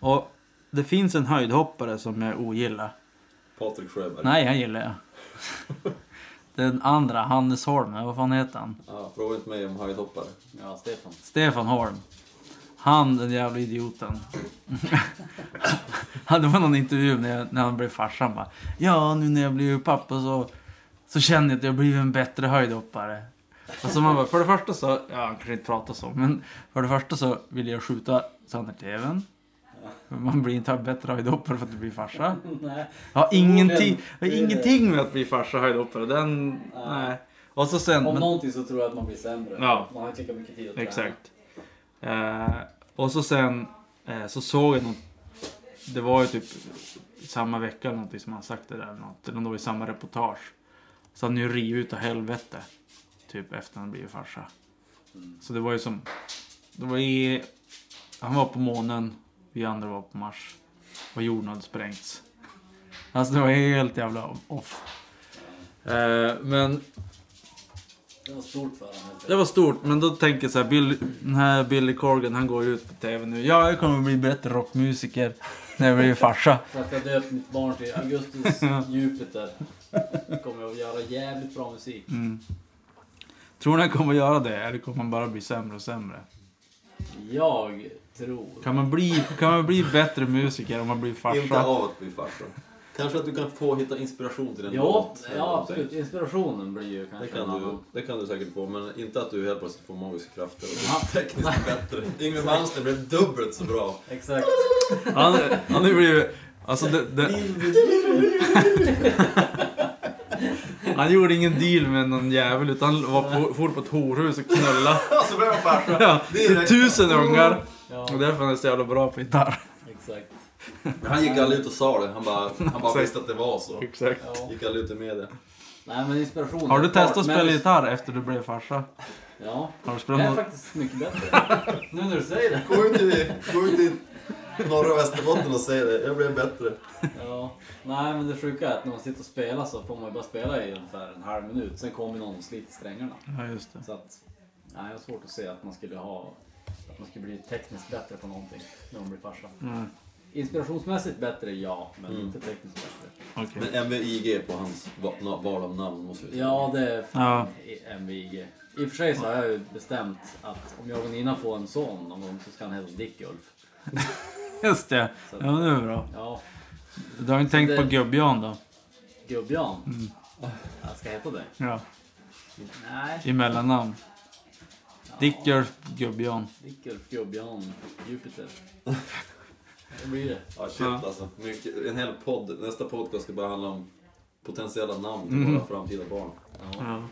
Speaker 1: Och det finns en höjdhoppare som jag ogillar.
Speaker 2: Patrik Sjöberg.
Speaker 1: Nej, han gillar jag. Den andra, Hannes Holm, vad fan heter han?
Speaker 2: Ja, fråga inte mig om höjdhoppare.
Speaker 3: ja, Stefan.
Speaker 1: Stefan Holm. Han, den jävla idioten. Han- det var någon intervju när, jag, när han blev farsa. Han bara, ja, nu när jag blir pappa så, så känner jag att jag blivit en bättre höjdhoppare. Alltså man bara, för det första så, ja han kanske inte pratar så, men för det första så vill jag skjuta sönder tvn. Man blir inte bättre höjdhoppare för att du blir farsa.
Speaker 3: Nej.
Speaker 1: Jag har ingenting, jag har
Speaker 3: Det är det.
Speaker 1: ingenting med att bli farsa höjdhoppare. Den, nej. Och så sen...
Speaker 3: Om
Speaker 1: men-
Speaker 3: någonting så tror jag att man blir sämre.
Speaker 1: Ja.
Speaker 3: Man har inte lika mycket tid att träna.
Speaker 1: Exakt. Eh, och så sen eh, så såg jag något. Det var ju typ samma vecka eller någonting som han sagt det där. Eller något. Eller det var i samma reportage. Så han är ju rivit utav helvete. Typ efter han blivit farsa. Så det var ju som. Det var i, han var på månen. Vi andra var på Mars. Och jorden hade sprängts. Alltså det var helt jävla off. Eh, men
Speaker 3: Det var stort för honom. helt
Speaker 1: det var stort, men då tänker jag så här, Bill, den här Billy Corgan han går ju ut på TV nu. Ja, jag kommer bli bättre rockmusiker när jag blir farsa.
Speaker 3: Så att jag döpt mitt barn till Augustus Jupiter. Kommer jag att göra jävligt bra musik.
Speaker 1: Mm. Tror ni han kommer göra det eller kommer han bara bli sämre och sämre?
Speaker 3: Jag tror...
Speaker 1: Kan man bli, kan man bli bättre musiker om man blir
Speaker 2: Inte
Speaker 1: farsa?
Speaker 2: av att bli farsa. Kanske att du kan få hitta inspiration till den
Speaker 3: Ja,
Speaker 2: låt eller
Speaker 3: ja
Speaker 2: någonting.
Speaker 3: absolut. Inspirationen blir ju
Speaker 2: Det
Speaker 3: kanske en
Speaker 2: kan, du,
Speaker 3: annan.
Speaker 2: det kan du säkert få, men inte att du helt plötsligt får magiska krafter och
Speaker 3: Ja.
Speaker 2: blir tekniskt bättre. Yngwie Malmsteen blev dubbelt så bra.
Speaker 3: Exakt.
Speaker 1: Han, han blir ju... Alltså det, det, han gjorde ingen deal med någon jävel utan han var på, for på ett horhus och knullade.
Speaker 2: Och så blev han farsa!
Speaker 1: Ja, det är tusen ungar.
Speaker 3: Ja,
Speaker 1: Och därför är han så jävla bra på gitarr.
Speaker 3: exakt.
Speaker 2: Men han gick aldrig ut och sa det, han bara, han bara visste att det var så.
Speaker 1: Exakt.
Speaker 3: Ja.
Speaker 2: Gick aldrig ut i media.
Speaker 3: Nej men inspirationen.
Speaker 1: Har du
Speaker 3: klart,
Speaker 1: testat att
Speaker 3: men-
Speaker 1: spela gitarr efter du blev farsa?
Speaker 3: Ja.
Speaker 1: Har du
Speaker 3: Det
Speaker 1: spelat
Speaker 3: är
Speaker 1: något?
Speaker 3: faktiskt mycket bättre. Nu när du säger det.
Speaker 2: Gå ut i, gå ut i norra Västerbotten och säg det, jag blev bättre.
Speaker 3: Ja. Nej men det sjuka är att när man sitter och spelar så får man ju bara spela i ungefär en halv minut. Sen kommer någon och sliter strängarna.
Speaker 1: Ja, just det.
Speaker 3: Så att, nej, jag har svårt att se att man skulle ha att man skulle bli tekniskt bättre på någonting när man blir farsa.
Speaker 1: Mm.
Speaker 3: Inspirationsmässigt bättre, ja, men inte tekniskt bättre.
Speaker 1: Okej.
Speaker 2: Men MVIG på hans va- na- val av namn måste vi säga.
Speaker 3: Ja, det är
Speaker 1: Ja.
Speaker 3: fan i- MVG. I och för sig så har jag ju bestämt att om jag och Nina får en son någon gång så ska han heta Dick-Ulf.
Speaker 1: Just det. Ja, men det är bra.
Speaker 3: Ja,
Speaker 1: Du har inte tänkt på
Speaker 3: det-
Speaker 1: gubb-Jan då?
Speaker 3: Gubb-Jan.
Speaker 1: Mm.
Speaker 3: Jag ska heta det.
Speaker 1: Ja,
Speaker 3: Nej,
Speaker 1: i mellannamn. Dick Ulf Gubb-Jan.
Speaker 3: Dick-Ulf, Gubb-Jan, Jupiter. Det blir det.
Speaker 2: Ja, shit alltså. Mycket, en hel podd, nästa podcast ska bara handla om potentiella namn till
Speaker 1: Mm.
Speaker 2: våra framtida barn.
Speaker 1: Ja.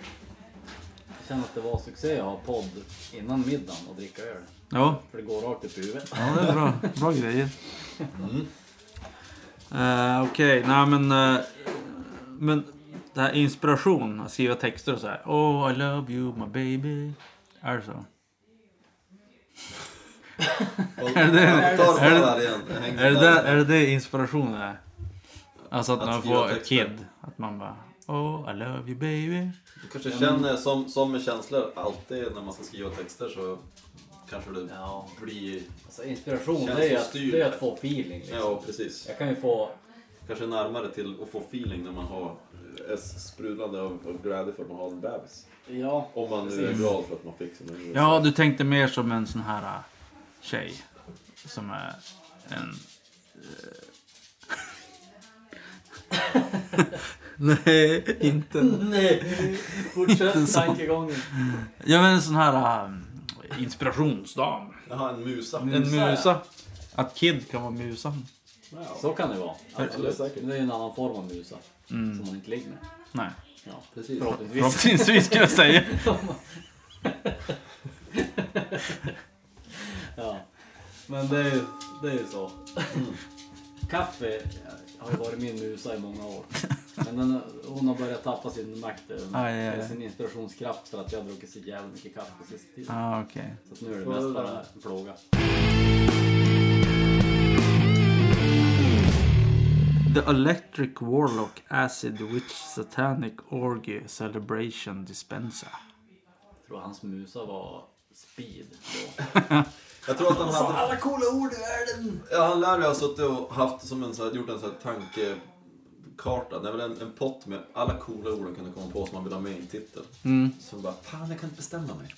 Speaker 3: Jag känner att det var succé att ha podd innan middagen och dricka öl.
Speaker 1: Ja,
Speaker 3: För det går rakt upp i huvudet.
Speaker 1: ja, det är bra. Bra grejer. Eh, Okej, nej men... eh, men det här inspiration, att skriva texter och så här. Oh, I love you my baby. Är det så?
Speaker 2: Och,
Speaker 1: Är det-
Speaker 2: ta
Speaker 1: är det-
Speaker 2: där igen. Häng
Speaker 1: Är det, där, är det det inspirationen är? Alltså att,
Speaker 2: Att
Speaker 1: man
Speaker 2: skriva
Speaker 1: får ett
Speaker 2: texter.
Speaker 1: kid. Att man bara Oh I love you baby.
Speaker 2: Du kanske känner, som, som med känslor, alltid när man ska skriva texter så kanske det
Speaker 3: Ja.
Speaker 2: blir...
Speaker 3: Alltså inspiration
Speaker 2: Känns
Speaker 3: det är, ju
Speaker 2: som
Speaker 3: att,
Speaker 2: styr.
Speaker 3: det är att få feeling. Liksom.
Speaker 2: Ja, precis.
Speaker 3: Jag kan ju få...
Speaker 2: Kanske eh, närmare till att få feeling när man har är sprudlande av, av glädje för att man har en bebis.
Speaker 3: Ja.
Speaker 2: Om man nu är glad för att man fick sina julklappar.
Speaker 1: Ja, du tänkte mer som en sån här äh, tjej. Som är en... eh, Nej, inte en-
Speaker 3: Nej, fortsätt tankegången.
Speaker 1: Jag menar en sån här äh, inspirationsdam.
Speaker 2: Jaha, en musa.
Speaker 3: Mm.
Speaker 1: En musa. Att Kid kan vara musan.
Speaker 3: Så kan det vara. Absolut.
Speaker 2: säkert.
Speaker 3: Men Det är ju en annan form av musa.
Speaker 1: Mm.
Speaker 3: Som man inte ligger med.
Speaker 1: Nej,
Speaker 3: Ja,
Speaker 2: Precis.
Speaker 3: förhoppningsvis.
Speaker 1: förhoppningsvis skulle jag säga.
Speaker 3: ja. Men det är ju det är ju så. Kaffe eh, har ju varit min musa i många år. Men den, hon har börjat tappa sin makt, över mig.
Speaker 1: Aj, aj, aj.
Speaker 3: sin inspirationskraft för att jag har druckit så jävla mycket kaffe på sista tiden.
Speaker 1: Ah, okej.
Speaker 3: Så att nu är det mest bara en plåga.
Speaker 1: The Electric Warlock Acid Witch Satanic Orgy Celebration Dispenser.
Speaker 3: Jag tror hans musa var speed då.
Speaker 2: Jag tror att han hade...
Speaker 3: Alltså, Alla coola ord i världen!
Speaker 2: Ja, han lär ju ha suttit och haft som en så här, gjort en så här tankekarta. Det är väl en, en pott med alla coola ord han kunde komma på som han ville ha med i en titel.
Speaker 3: Mm.
Speaker 2: Så bara, fan jag kan inte bestämma mig.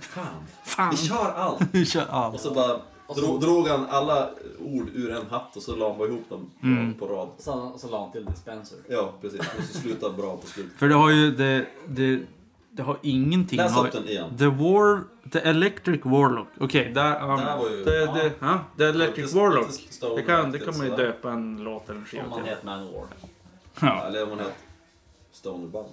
Speaker 2: Fan,
Speaker 1: Fan!
Speaker 2: vi kör allt!
Speaker 1: Vi kör av.
Speaker 2: Och så bara dro, drog han alla ord ur en hatt och så la han bara ihop dem på,
Speaker 3: Mm.
Speaker 2: på rad.
Speaker 3: Så, så la han till dispenser.
Speaker 2: Ja, precis. Och så slutade bra på slut.
Speaker 1: För det har ju det... det det har ingenting...
Speaker 2: Läs
Speaker 1: har-
Speaker 2: upp den igen.
Speaker 1: The War... The Electric Warlock. Okej, där... ja,
Speaker 2: Där var ju-
Speaker 1: det, det, ja, The Electric
Speaker 2: Lite-
Speaker 1: Warlock.
Speaker 2: lite Stone
Speaker 1: Det kan, det
Speaker 2: Acid,
Speaker 1: kan man ju
Speaker 2: sådär.
Speaker 5: Döpa en låt eller en
Speaker 3: Om
Speaker 5: skiva
Speaker 3: man
Speaker 5: till.
Speaker 3: heter Manowar.
Speaker 1: Ja.
Speaker 2: Eller om han hette Stonerband.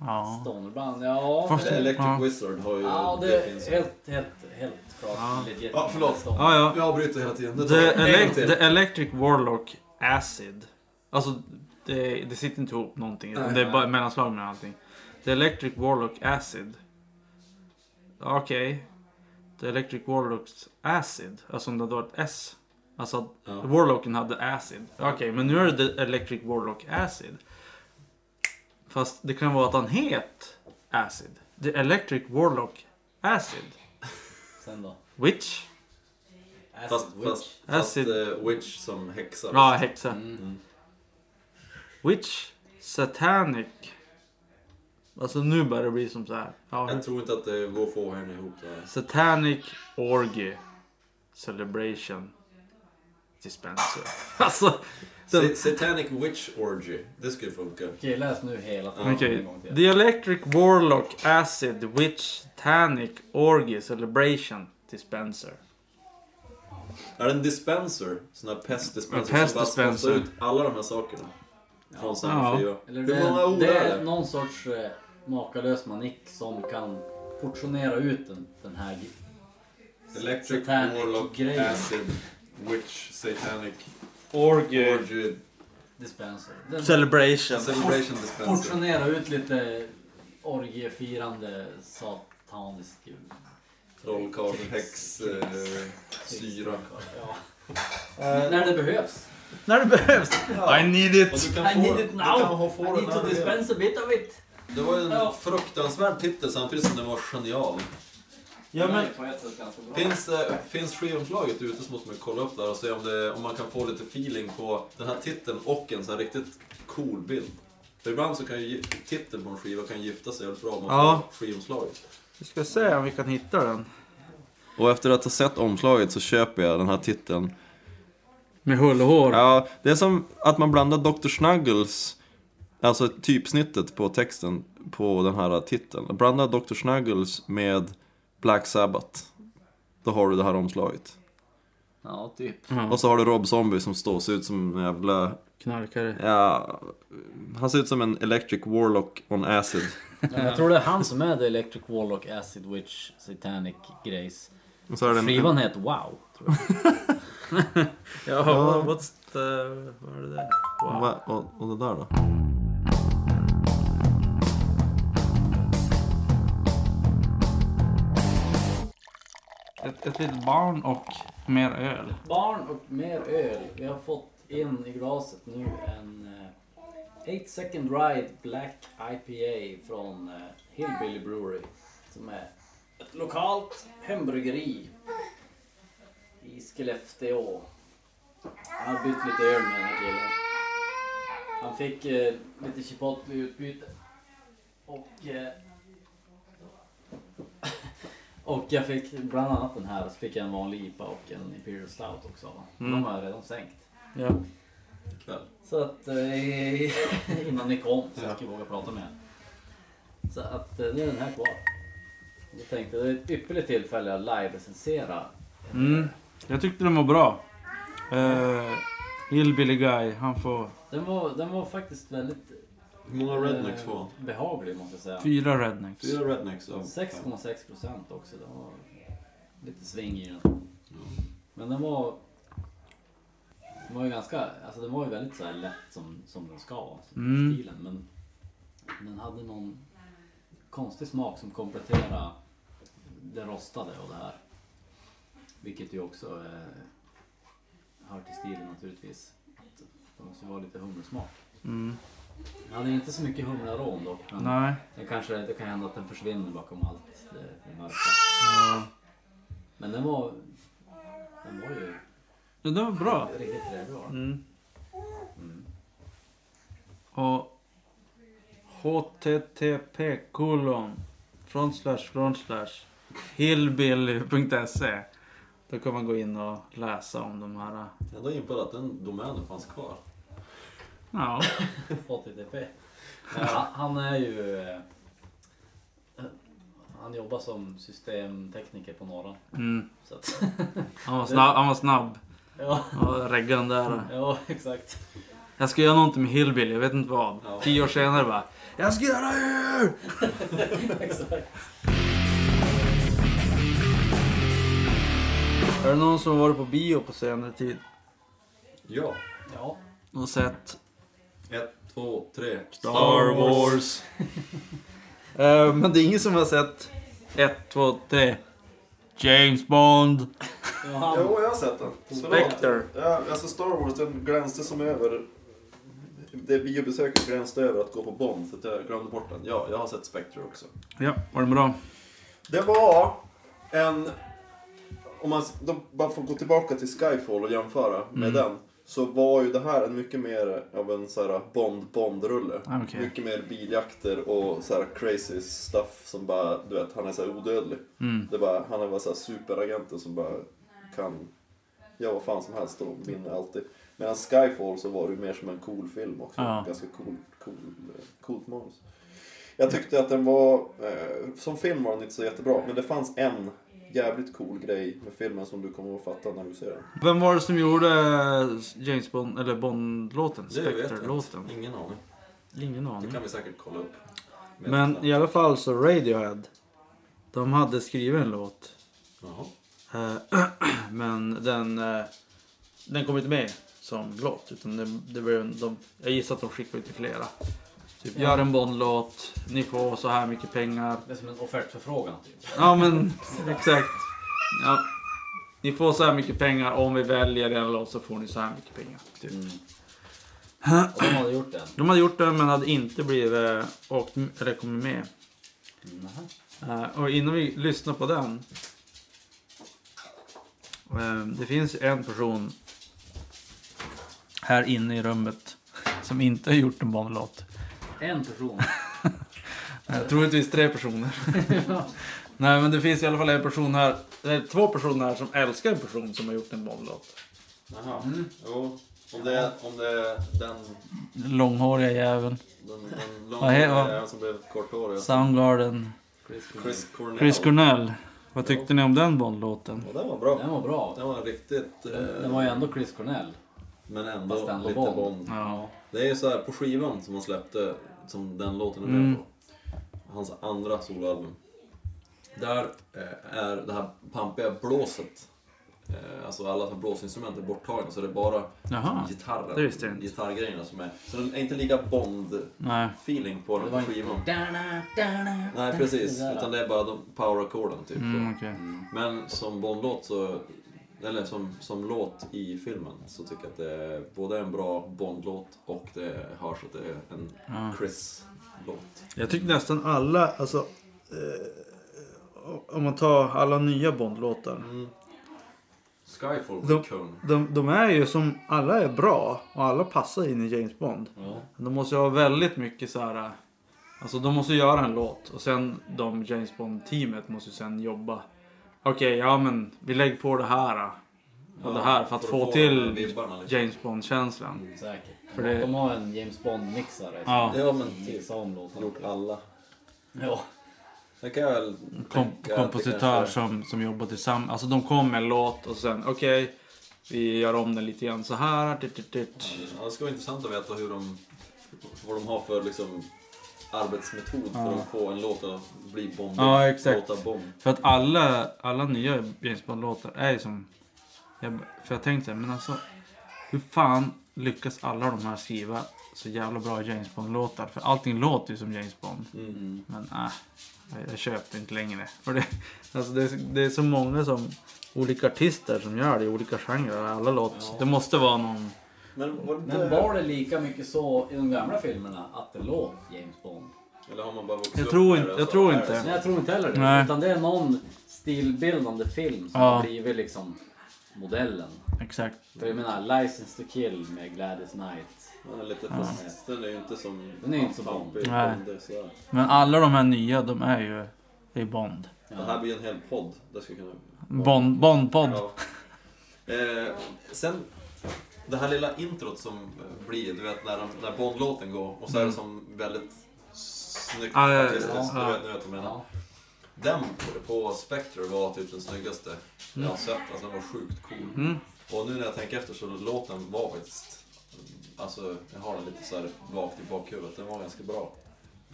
Speaker 1: ja.
Speaker 3: Stonerband, ja.
Speaker 1: Fast-
Speaker 2: Eller Electric
Speaker 1: Ja.
Speaker 2: Wizard har ju...
Speaker 3: Ja, det
Speaker 2: det
Speaker 3: är
Speaker 2: finns.
Speaker 3: helt, helt, helt klart.
Speaker 1: Ja.
Speaker 3: legit.
Speaker 2: Ja, förlåt.
Speaker 3: Stonerband.
Speaker 1: Ja, ja.
Speaker 2: Vi avbryter hela tiden. Det tar
Speaker 1: The,
Speaker 2: vi en gång
Speaker 1: elec-
Speaker 2: till.
Speaker 1: the Electric Warlock Acid. Alltså, det, det sitter inte ihop någonting. utan Det är bara mellanslag med allting. The Electric Warlock Acid. Okej. The Electric Warlocks Acid. Alltså om det hade varit S. Alltså att
Speaker 2: Ja.
Speaker 1: Warlocken hade Acid. Okej, men nu är det The Electric Warlock Acid. Fast det kan vara att han het Acid. The Electric Warlock Acid.
Speaker 3: Sen då?
Speaker 1: Witch.
Speaker 3: Acid
Speaker 2: Fast,
Speaker 3: Witch.
Speaker 2: fast, fast
Speaker 1: Acid.
Speaker 2: eh, Witch som häxa.
Speaker 1: Ja, häxa.
Speaker 3: Mm.
Speaker 1: Witch Satanic. Alltså nu börjar det bli som så här. Ja.
Speaker 2: Jag tror inte att det går att få henne ihop där.
Speaker 1: Satanic Orgy Celebration Dispenser. Alltså. Den,
Speaker 2: Sa- Satanic Witch Orgy. Det skulle funka.
Speaker 3: Okej, läs nu hela tiden.
Speaker 1: Okej.
Speaker 3: en gång till.
Speaker 1: The Electric Warlock Acid Witch Satanic Orgy Celebration Dispenser.
Speaker 2: Är det en dispenser? Sån här pestdispenser
Speaker 1: En
Speaker 2: som bara spottar
Speaker 1: pestdispenser.
Speaker 2: ut alla de här sakerna. Från samma
Speaker 1: Ja.
Speaker 2: skiva.
Speaker 3: Eller det,
Speaker 2: Hur många
Speaker 3: är,
Speaker 2: ord
Speaker 3: det
Speaker 2: är
Speaker 3: är
Speaker 2: det?
Speaker 3: någon sorts eh, makalös manick som kan portionera ut den, den här gi-
Speaker 2: Electric
Speaker 3: satanic
Speaker 2: Warlock
Speaker 3: grejer.
Speaker 2: Acid Witch Satanic
Speaker 1: Orgy
Speaker 2: Orgy
Speaker 3: dispenser. Den
Speaker 1: Celebration.
Speaker 2: Celebration Dispenser.
Speaker 3: portionerar ut lite orgiefirande satanisk...
Speaker 2: Trollkarl, häx, eh, syra.
Speaker 3: Ja.
Speaker 2: Eh,
Speaker 3: När det behövs.
Speaker 1: När det behövs. I need
Speaker 2: Och
Speaker 1: it.
Speaker 2: du kan
Speaker 3: I
Speaker 2: få,
Speaker 3: need
Speaker 2: du
Speaker 3: it
Speaker 2: kan
Speaker 3: now!
Speaker 2: ha- få
Speaker 3: I
Speaker 2: den
Speaker 3: need to
Speaker 2: här grejen.
Speaker 3: dispense a bit of it!
Speaker 2: Det var ju en
Speaker 3: Ja.
Speaker 2: fruktansvärd titel samtidigt som den var genial.
Speaker 1: Ja, men,
Speaker 3: på ett sätt ganska bra.
Speaker 2: Finns, eh, finns skivomslaget ute så måste man kolla upp där och se om, det, om man kan få lite feeling på den här titeln och en så här riktigt cool bild. För ibland så kan ju gi- titeln på en skiva kan gifta sig väldigt bra med
Speaker 1: Ja.
Speaker 2: skivomslaget.
Speaker 1: vi ska se om vi kan hitta den.
Speaker 2: Och efter att ha sett omslaget så köper jag den här titeln.
Speaker 1: Med hull och hår.
Speaker 2: Ja, det är som att man blandar Dr. Snuggles, alltså typsnittet på texten på den här titeln. Blanda Dr. Snuggles med Black Sabbath. Då har du det här omslaget.
Speaker 3: Ja, typ.
Speaker 1: Ja,
Speaker 2: Och så har du Rob Zombie som står ser ut som en jävla...
Speaker 1: knarkare.
Speaker 2: Ja, han ser ut som en Electric Warlock on Acid.
Speaker 3: jag tror det är han som är The Electric Warlock Acid Witch Satanic Grace.
Speaker 2: Och så är det en,
Speaker 3: Skivan heter Wow. Tror jag.
Speaker 1: Ja, what- what's the... Vad är det där? Wow.
Speaker 2: va, och, och det där då?
Speaker 1: Ett, ett litet barn och mer öl.
Speaker 3: Barn och mer öl. Vi har fått in i glaset nu en 8 second ride Black IPA från eh, Hillbilly Brewery. Som är ett lokalt hembryggeri i Skellefteå. Han har bytt lite öl med den här killen. Han fick eh, lite chipotle i utbyte. Och eh, Och jag fick bland annat den här, så fick jag en vanlig IPA och en Imperial Stout också. va? De har jag redan sänkt.
Speaker 1: Ja.
Speaker 2: Ikväll.
Speaker 3: Så att eh, innan ni kom så jag skulle våga prata med er. Så att eh, nu är den här kvar. Jag tänkte det är ett ypperligt tillfälle att live-recensera.
Speaker 1: Mm. Jag tyckte den var bra. Uh, Hillbilly Guy, han får
Speaker 3: Den var, den var faktiskt väldigt
Speaker 2: Hur många rednecks får han?
Speaker 3: eh, behaglig måste jag säga.
Speaker 1: fyra rednecks.
Speaker 2: Fyra rednecks av fem.
Speaker 3: 6,6 procent också. Det var lite sving i den. Men den var... Den var ju ganska... Alltså den var ju väldigt så här lätt som, som den ska vara. så-
Speaker 1: Mm.
Speaker 3: Stilen. Men den hade någon konstig smak som kompletterade det rostade och det här. Vilket ju också eh, hör till stilen naturligtvis. Att det måste ju vara lite hummersmak.
Speaker 1: Mm.
Speaker 3: Den hade inte så mycket humlearom dock. men-
Speaker 1: Nej.
Speaker 3: den kanske, det kan hända att den försvinner bakom allt det, det mörka.
Speaker 1: Ja.
Speaker 3: Men den var, den var ju
Speaker 1: Ja, den var bra.
Speaker 3: riktigt trevlig. va?
Speaker 1: Mm. Och http kolon front slash front slash hillbilly.se E. Då kan man gå in och läsa om de här.
Speaker 2: Ändå impad att den domänen fanns kvar.
Speaker 1: Ja,
Speaker 3: 80TP. Men han, han är ju... eh, Han jobbar som systemtekniker på Norra.
Speaker 1: mm.
Speaker 3: Så att,
Speaker 1: han, var snabb, han var snabb.
Speaker 3: ja,
Speaker 1: Ja, Reggan där.
Speaker 3: ja, exakt.
Speaker 1: Jag ska göra någonting med hillbilly, jag vet inte vad.
Speaker 2: Ja.
Speaker 1: Tio år senare bara. Jag ska göra öl!
Speaker 3: exakt.
Speaker 1: Är det någon som har varit på bio på senare tid
Speaker 2: Ja.
Speaker 3: Ja,
Speaker 1: och sett
Speaker 2: Ett, två, tre.
Speaker 1: Star Wars. Eh, men det är ingen som har sett 1, 2, 3. James Bond.
Speaker 3: det var han.
Speaker 6: Jo, jag har sett den.
Speaker 1: Spectre.
Speaker 6: Ja, alltså Star Wars, den glänste som över... Det biobesöket glänste över att gå på Bond, så att jag glömde bort den. Ja, jag har sett Spectre också.
Speaker 1: Ja, var den bra?
Speaker 6: Det var en... Om man då bara får gå tillbaka till Skyfall och jämföra
Speaker 1: Mm.
Speaker 6: med den. Så var ju det här en mycket mer av en så här Bond-Bond-rulle.
Speaker 1: Ah, okej.
Speaker 6: Mycket mer biljakter och så här crazy stuff som bara, du vet, han är så här odödlig.
Speaker 1: Mm.
Speaker 6: Det är bara, han är bara så här superagenten som bara kan göra vad fan som helst och vinner alltid. Medan Skyfall så var det ju mer som en cool film också.
Speaker 1: Ja.
Speaker 6: Ganska cool, cool, eh, coolt manus. Jag tyckte att den var, eh, som film var den inte så jättebra, men det fanns en jävligt cool grej med filmen som du kommer att fatta när du ser den.
Speaker 1: Vem var det som gjorde eh, James Bond, eller Bond-låten?
Speaker 2: Det vet jag
Speaker 1: Spectre-låten?
Speaker 2: inte. Ingen aning.
Speaker 1: Ingen
Speaker 2: Det
Speaker 1: aning.
Speaker 2: kan vi säkert kolla upp. Vet
Speaker 1: Men
Speaker 2: knappt.
Speaker 1: i alla fall så Radiohead. De hade skrivit en låt.
Speaker 2: Jaha.
Speaker 1: Eh, Men den, eh, den kom inte med som låt. Utan det, det var, ju- de, jag gissar att de skickade ut till flera. Typ, gör en Bond-låt, ni får så här mycket pengar.
Speaker 3: Det är som en offertförfrågan typ.
Speaker 1: Ja men exakt. Ja. Ni får så här mycket pengar om vi väljer en låt så får ni så här mycket pengar. Typ.
Speaker 3: Mm. Och de hade gjort den.
Speaker 1: De hade gjort det men hade inte blivit eh, åkt, eller kommit med.
Speaker 3: Mm,
Speaker 1: Eh, och innan vi lyssnar på den. eh, det finns en person här inne i rummet som inte har gjort en Bondlåt.
Speaker 3: En person.
Speaker 1: Eh, troligtvis tre personer. Nej men det finns i alla fall en person här, eller två personer här som älskar en person som har gjort en Bondlåt.
Speaker 2: Jaha. Jo. Om det är, om det är den,
Speaker 1: Långhåriga jäveln.
Speaker 2: den, den
Speaker 1: Vad he- vad-
Speaker 2: långa som blev korthårig.
Speaker 1: Soundgarden.
Speaker 3: Chris Cornell.
Speaker 2: Chris Cornell.
Speaker 1: Chris Cornell. Vad tyckte ni om den Bond-låten?
Speaker 2: Ja, den var bra.
Speaker 3: Den var bra.
Speaker 2: Den var riktigt... eh,
Speaker 3: Den den var ju ändå Chris Cornell.
Speaker 2: Men
Speaker 3: Fast
Speaker 2: ändå
Speaker 3: ändå
Speaker 2: lite
Speaker 3: Bond.
Speaker 2: Bond.
Speaker 1: Ja.
Speaker 2: Det är ju så här på skivan som han släppte, som den låten är med
Speaker 1: Mm.
Speaker 2: på. Hans andra soloalbum. Där eh, är det här pampiga blåset, eh, alltså alla blåsinstrument är borttagna så det är bara
Speaker 1: Jaha.
Speaker 2: gitarren,
Speaker 1: det visste jag inte.
Speaker 2: gitarrgrejerna som är. Så den är inte lika Bond-feeling
Speaker 1: Nej.
Speaker 2: på den på
Speaker 3: Det var inte-
Speaker 2: skivan.
Speaker 3: Dana, dana,
Speaker 2: Nej precis,
Speaker 3: det där.
Speaker 2: utan det är bara de power-ackorden typ.
Speaker 1: Mm, okej.
Speaker 2: Men som Bond-låt så, eller som, som låt i filmen så tycker jag att det är både en bra Bond-låt och det hörs att det är en
Speaker 1: Ja.
Speaker 2: Chris-låt.
Speaker 1: Jag tycker nästan alla, alltså... Eh, om man tar alla nya Bond-låtar.
Speaker 2: Skyfall
Speaker 1: De-
Speaker 2: var kung.
Speaker 1: De, de är ju som, alla är bra och alla passar in i James Bond.
Speaker 3: Ja.
Speaker 1: De måste ju ha väldigt mycket så här... eh, Alltså de måste göra en låt och sen de James Bond-teamet måste ju sen jobba Okej, ja men vi lägger på det här. då. Och det här för att få till
Speaker 2: vibbarna liksom.
Speaker 1: James Bond-känslan.
Speaker 3: Säkert.
Speaker 1: För det-
Speaker 3: De har en James Bond-mixare.
Speaker 1: Ja.
Speaker 2: Ja men
Speaker 3: Som
Speaker 2: typ.
Speaker 3: mixar om låtarna.
Speaker 2: Gjort alla.
Speaker 3: Ja.
Speaker 2: Det kan jag väl
Speaker 1: Kom,
Speaker 2: tänka att det
Speaker 1: kompositör
Speaker 2: kanske-
Speaker 1: som, som jobbar tillsammans. Alltså de kom med en låt och sen okej, vi gör om den lite grann så här. Dit, dit, dit.
Speaker 2: Ja, det skulle vara intressant att veta hur de, vad de har för liksom, arbetsmetod för att få en låt att bli bomb.
Speaker 1: Ja, exakt.
Speaker 2: Låta bomb.
Speaker 1: För att alla, alla nya James Bond-låtar är ju som... Jag, för jag tänkte så här, men alltså... Hur fan lyckas alla de här skriva så jävla bra James Bond-låtar? För allting låter ju som James Bond.
Speaker 2: Mm.
Speaker 1: Men äh, jag, jag köpte inte längre. För det, alltså det, är, det är så många som... Olika artister som gör det i olika genrer. Alla låter... Det måste vara någon...
Speaker 2: Men var det inte...
Speaker 3: Men var det lika mycket så i de gamla filmerna att det låg James Bond?
Speaker 2: Eller har man bara vuxit
Speaker 1: Jag
Speaker 2: upp
Speaker 1: tror
Speaker 2: med
Speaker 1: inte-
Speaker 2: det och
Speaker 1: jag
Speaker 2: så,
Speaker 1: tror
Speaker 2: är
Speaker 1: inte.
Speaker 2: det så?
Speaker 3: Nej, jag tror inte heller det.
Speaker 1: Nej.
Speaker 3: Utan det är någon stilbildande film som
Speaker 1: Ja.
Speaker 3: har blivit liksom modellen.
Speaker 1: Exakt.
Speaker 3: För jag menar, License to kill med Gladys Knight.
Speaker 2: Man är lite fast. Den är ju inte som...
Speaker 3: Den är ju inte så
Speaker 2: pampig,
Speaker 1: Nej.
Speaker 2: Bond, det är sådär.
Speaker 1: Men alla de här nya, de är ju... Det är Bond.
Speaker 2: Det här blir en hel podd. Det skulle kunna...
Speaker 1: Bond- Bond-podd.
Speaker 2: Ja. Eh, sen det här lilla introt som eh, blir, du vet när, de, när Bond-låten går och så är det som väldigt snyggt
Speaker 1: Mm. Ah, Ja, ja, ja.
Speaker 2: artistiskt.
Speaker 1: Ja.
Speaker 2: Du vet, du vet vad jag menar.
Speaker 3: Ja.
Speaker 2: Den på- på Spectre var typ den snyggaste jag har sett. Alltså den var sjukt cool.
Speaker 1: Mm.
Speaker 2: Och nu när jag tänker efter så låten var faktiskt... Alltså jag har den lite så här vagt i bakhuvudet. Den var ganska bra.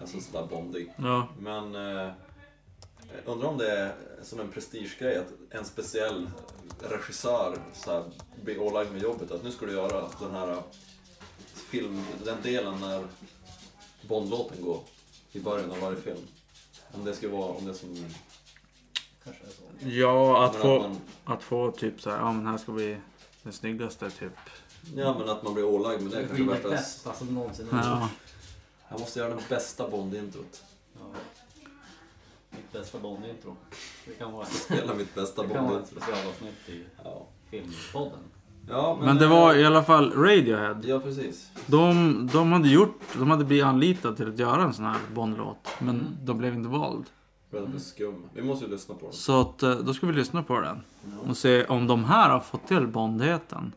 Speaker 2: Alltså sådär bondig.
Speaker 1: Ja.
Speaker 2: Men eh, jag undrar om det är som en prestigegrej att en speciell regissör så här, blir ålagd med jobbet att nu ska du göra den här eh, film, den delen när Bondlåten går i början av varje film. Om det ska vara, om det är som...
Speaker 3: Kanske är så.
Speaker 1: Ja, att
Speaker 2: men
Speaker 1: få...
Speaker 2: att man,
Speaker 1: Att få typ så här, ja men här ska bli den snyggaste typ.
Speaker 2: ja men att man blir ålagd med
Speaker 3: Det
Speaker 2: det
Speaker 3: är
Speaker 2: kanske är
Speaker 3: det
Speaker 2: värt det.
Speaker 3: bästa alltså, som någonsin har
Speaker 1: Ja.
Speaker 3: gjorts.
Speaker 2: Jag måste göra den bästa Bond-introt.
Speaker 3: Ja. Mitt bästa Bond-intro. Det kan vara,
Speaker 2: Spela mitt bästa
Speaker 3: det kan vara ett
Speaker 2: Bond-intro.
Speaker 3: specialavsnitt i
Speaker 2: Ja.
Speaker 3: Filmpodden.
Speaker 2: Ja,
Speaker 1: Men det var i alla fall Radiohead.
Speaker 2: Ja, precis.
Speaker 1: De, de hade gjort, de hade blivit anlitade till att göra en sån här Bond-låt. Men de blev inte vald.
Speaker 2: Den är skum. Vi måste ju lyssna på den.
Speaker 1: Så att, eh, då ska vi lyssna på den. Och se om de här har fått till Bondheten.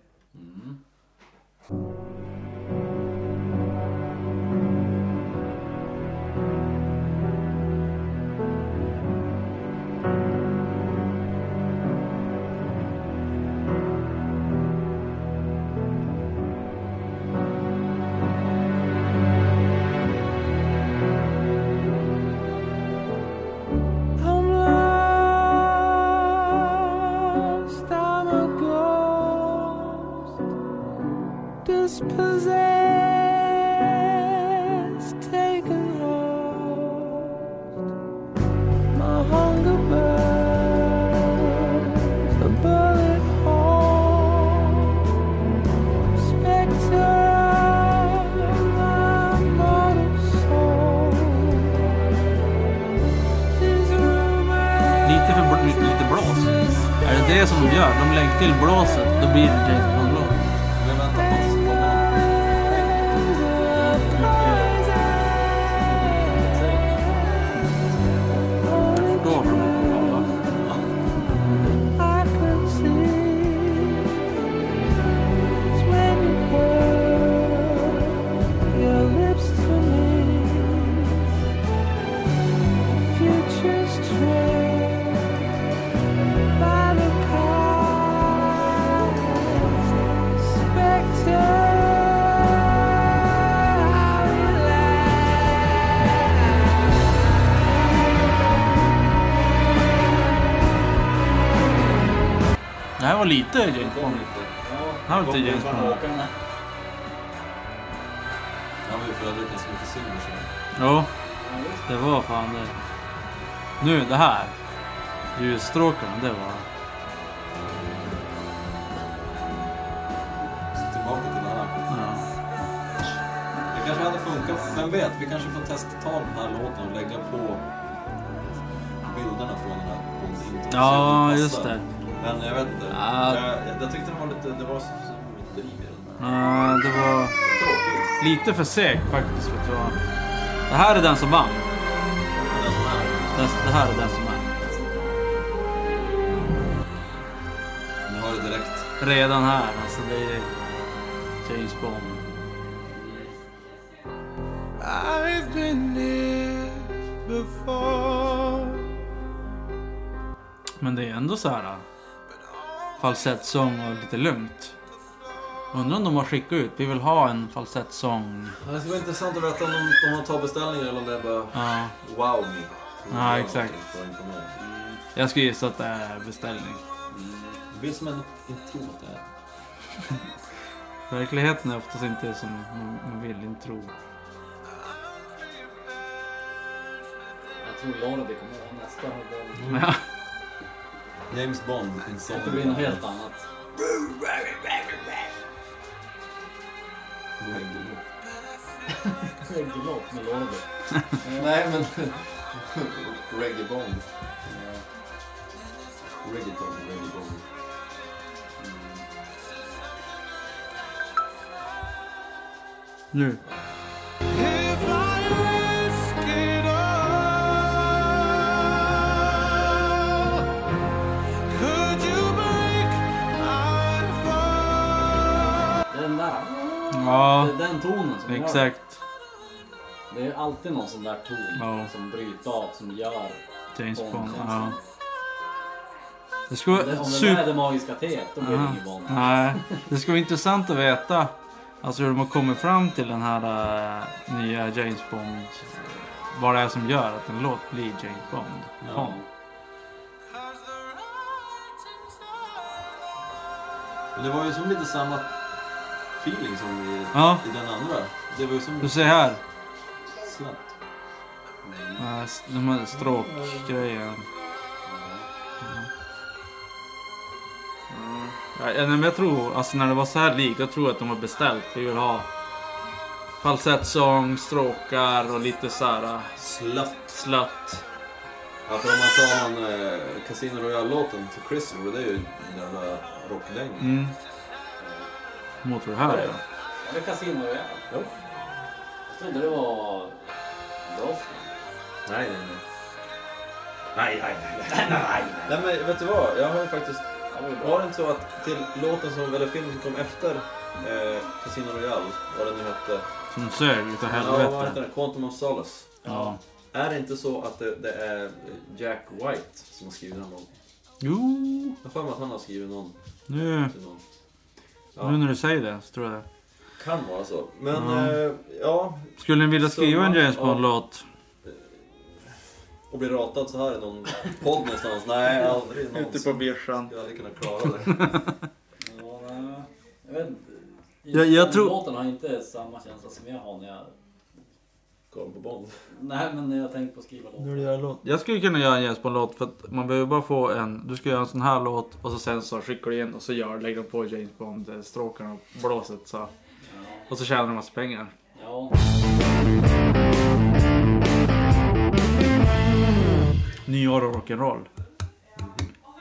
Speaker 1: Lite för bl- lite blås. Är det det som de gör? De lägger till blåset, då blir det James Bond-låt.
Speaker 2: Men vänta, vad ska man...
Speaker 1: Jag förstår vad de håller på med. Det här var lite James Bond. Det här var lite James Bond.
Speaker 2: Ja, men vi får aldrig ganska mycket silver så.
Speaker 1: Ja, det var fan det. Nu det här. Ljusstråkarna, det var...
Speaker 2: Så tillbaka till det här.
Speaker 1: Ja.
Speaker 2: Det kanske hade funkat, vem vet? Vi kanske får testa ta den här låten och lägga på bilderna från den här bondintrot.
Speaker 1: Ja,
Speaker 2: Så det
Speaker 1: just
Speaker 2: passar.
Speaker 1: det.
Speaker 2: Men jag vet inte.
Speaker 1: Ja.
Speaker 2: Jag, jag tyckte den var lite, det var så, så mycket driv i den.
Speaker 1: Ja, Eh, det var
Speaker 2: Tråkigt.
Speaker 1: lite för segt faktiskt. För att det, var... det här är den som vann.
Speaker 2: Men den som är.
Speaker 1: Det, det här är den som vann. redan här. Alltså det är James Bond.
Speaker 7: I've been here before.
Speaker 1: Men det är ändå så här äh, falsettsång och lite lugnt. Undrar om de har skickat ut, vi vill ha en falsettsång.
Speaker 2: Ja, Det skulle vara intressant att veta om de, om de tar beställningar eller om det är bara
Speaker 1: Ja,
Speaker 2: wow me.
Speaker 1: Ja, exakt.
Speaker 2: Det
Speaker 1: jag skulle gissa att det är beställning.
Speaker 2: blir som en inte tror att det är.
Speaker 1: Verkligheten är oftast inte som man- man vill inte tro.
Speaker 3: Jag tror Laura det kommer vara nästa. Det
Speaker 7: Mm.
Speaker 1: Ja,
Speaker 2: James Bond, en sån.
Speaker 3: kommer bli något helt annat. Skägglåt med Laura det. Eh, Nej men...
Speaker 6: Reggae Bond.
Speaker 2: Reggaeton, reggaeton.
Speaker 1: nu.
Speaker 7: If I risk it all, could you break my fall?
Speaker 3: Den där.
Speaker 1: Ja,
Speaker 3: Det är den tonen som gör det.
Speaker 1: exakt.
Speaker 3: Det är alltid någon sån där ton
Speaker 1: Ja.
Speaker 3: som bryter av som gör
Speaker 1: James Bond, ja.
Speaker 3: Bondkänslan.
Speaker 1: Det skulle
Speaker 3: Om det,
Speaker 1: vara
Speaker 3: om det där
Speaker 1: super...
Speaker 3: är det magiska teet, då blir det
Speaker 1: Ja.
Speaker 3: ingen Bond.
Speaker 1: Nej, det skulle vara intressant att veta alltså hur de har kommit fram till den här äh, nya James Bond. Vad det är som gör att en låt blir James Bond.
Speaker 3: Ja.
Speaker 1: Bond.
Speaker 7: Cause the writing's
Speaker 2: Men det var ju som lite samma feeling som i,
Speaker 1: Ja,
Speaker 2: i den andra. Det var ju som
Speaker 1: du ser här.
Speaker 2: snabbt.
Speaker 1: äh, s- De här stråkgrejerna. Ja, nej, men jag tror, alltså när det var så här likt, jag tror att de har beställt. Vi vill ha falsettsång, stråkar och lite så här äh,
Speaker 2: Slatt.
Speaker 1: slött.
Speaker 2: Ja, för om man tar han eh, Casino Royale-låten till Crystal, det är ju den jävla rockdängan.
Speaker 1: Mm. Mot vad det här är.
Speaker 3: Är det Casino Royale?
Speaker 2: Jo.
Speaker 3: Jag trodde det var... Dolphin.
Speaker 2: Nej, nej, nej. Nej, nej, nej. Nej, men vet du vad? Jag har ju faktiskt...
Speaker 3: Ja, det var bra.
Speaker 2: Var det inte så att till låten som, eller filmen som kom efter eh, Casino Royale, vad den nu hette.
Speaker 1: Som sög utav
Speaker 2: Ja, vad hette
Speaker 1: helvete.
Speaker 2: den? Quantum of Solace.
Speaker 1: Ja.
Speaker 2: Är det inte så att det, det är Jack White som har skrivit den låten?
Speaker 1: Jo,
Speaker 2: Jag har för mig att han har skrivit någon
Speaker 1: nu,
Speaker 2: till någon.
Speaker 1: nu när du säger det så tror jag det.
Speaker 2: Kan vara så. Men
Speaker 1: Ja.
Speaker 2: eh, ja,
Speaker 1: Skulle ni vilja skriva en
Speaker 2: Summa
Speaker 1: James
Speaker 2: av-
Speaker 1: Bond-låt?
Speaker 2: och bli ratad så här i någon podd någonstans. Nej, aldrig någonsin.
Speaker 5: bärsan.
Speaker 2: Jag hade kunnat klara det.
Speaker 3: Ja, nej. Jag vet inte.
Speaker 1: Jag- jag
Speaker 3: Den
Speaker 1: tror-
Speaker 3: Låten har inte samma känsla som jag har när jag...
Speaker 2: Kolla på Bond.
Speaker 3: Nej, men när jag tänker på att skriva låtar.
Speaker 5: Jag skulle kunna göra en James Bond-låt för att man behöver bara få en... Du ska göra en sån här låt och så sen så skickar du in och så gör, lägger de på James Bond-stråkarna och blåset så. Och så tjänar de massa pengar.
Speaker 3: Ja.
Speaker 1: Nyår och rock'n'roll.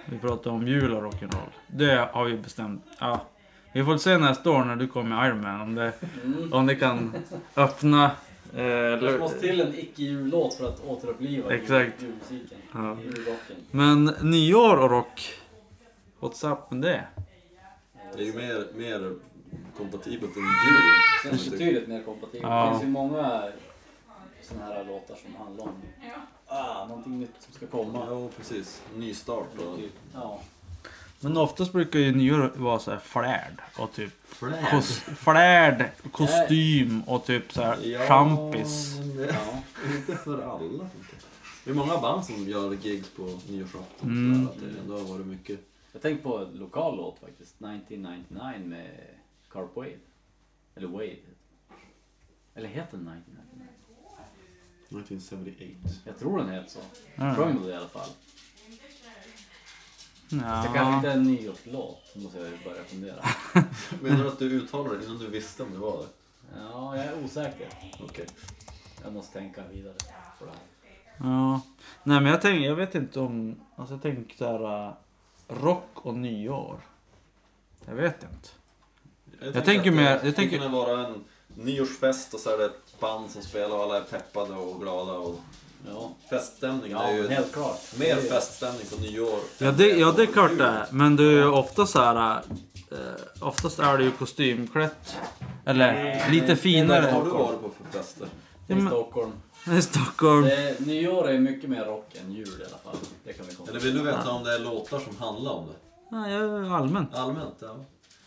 Speaker 1: Vi pratar om jul och rock'n'roll. Det har vi bestämt. Ja. Vi får se nästa år när du kommer med Iron Man om det,
Speaker 3: Mm.
Speaker 1: om det kan öppna... Eh,
Speaker 3: Det måste
Speaker 1: lu-
Speaker 3: till en icke-jullåt för att återuppliva jul-
Speaker 1: Exakt.
Speaker 3: julmusiken.
Speaker 1: ja.
Speaker 3: Julrocken.
Speaker 1: Men nyår och rock. What's up med det?
Speaker 2: Det är ju mer, mer kompatibelt än djur.
Speaker 3: Det känns betydligt mer kompatibelt.
Speaker 1: Ja.
Speaker 3: Det finns ju många sådana här låtar som handlar om ah, någonting nytt som ska komma. Typ.
Speaker 2: Ja, precis. Nystart och...
Speaker 3: Ja.
Speaker 1: Men oftast brukar ju nyår vara så här flärd och typ kos, flärd, kostym och typ så här
Speaker 2: Ja,
Speaker 1: champis.
Speaker 2: men det-
Speaker 3: Ja.
Speaker 2: Inte för alla. Det är många band som gör gigs på nyårsafton.
Speaker 1: Mm.
Speaker 2: sådär, att Det ändå har varit mycket.
Speaker 3: Jag tänkte på en lokal låt faktiskt. 1999 med Carp Wade. Eller Wade. heter den. Eller heter den 1999?
Speaker 2: 1978.
Speaker 3: Jag tror den heter så.
Speaker 1: Ja.
Speaker 3: Sjöng det i alla fall.
Speaker 1: Ja.
Speaker 3: Det kanske inte är en nyårslåt. Nu måste jag ju börja fundera.
Speaker 2: Menar du att du uttalade det innan du visste om det var det?
Speaker 3: Ja, jag är osäker.
Speaker 2: Okej.
Speaker 3: Jag måste tänka vidare på det här.
Speaker 1: Ja. Nej men jag tänker, jag vet inte om... Alltså jag tänker såhär... äh, rock och nyår. Jag vet inte. Jag tänker
Speaker 2: att
Speaker 1: mer-
Speaker 2: det
Speaker 1: jag
Speaker 2: skulle
Speaker 1: tänker-
Speaker 2: kunna vara en nyårsfest och så är det ett band som spelar och alla är peppade och glada och
Speaker 3: Ja,
Speaker 2: feststämning.
Speaker 3: ja
Speaker 2: det är ju
Speaker 3: helt klart.
Speaker 2: mer
Speaker 3: Det är-
Speaker 2: feststämning på nyår.
Speaker 1: Ja
Speaker 2: än
Speaker 1: det, ja,
Speaker 2: på
Speaker 1: det är klart
Speaker 2: jul.
Speaker 1: det är. Men det är ju ofta så här. äh, eh, oftast är det ju kostymklätt. Eller lite finare.
Speaker 2: Vad har du varit på för fester?
Speaker 1: Ja,
Speaker 3: I
Speaker 1: men-
Speaker 3: Stockholm.
Speaker 1: I Stockholm.
Speaker 3: Det, nyår är mycket mer rock än jul i alla fall. Det kan vi
Speaker 2: Eller
Speaker 3: konstatera.
Speaker 2: vill du veta om det är låtar som handlar om det?
Speaker 1: Ja, ja, allmänt.
Speaker 2: Allmänt, ja.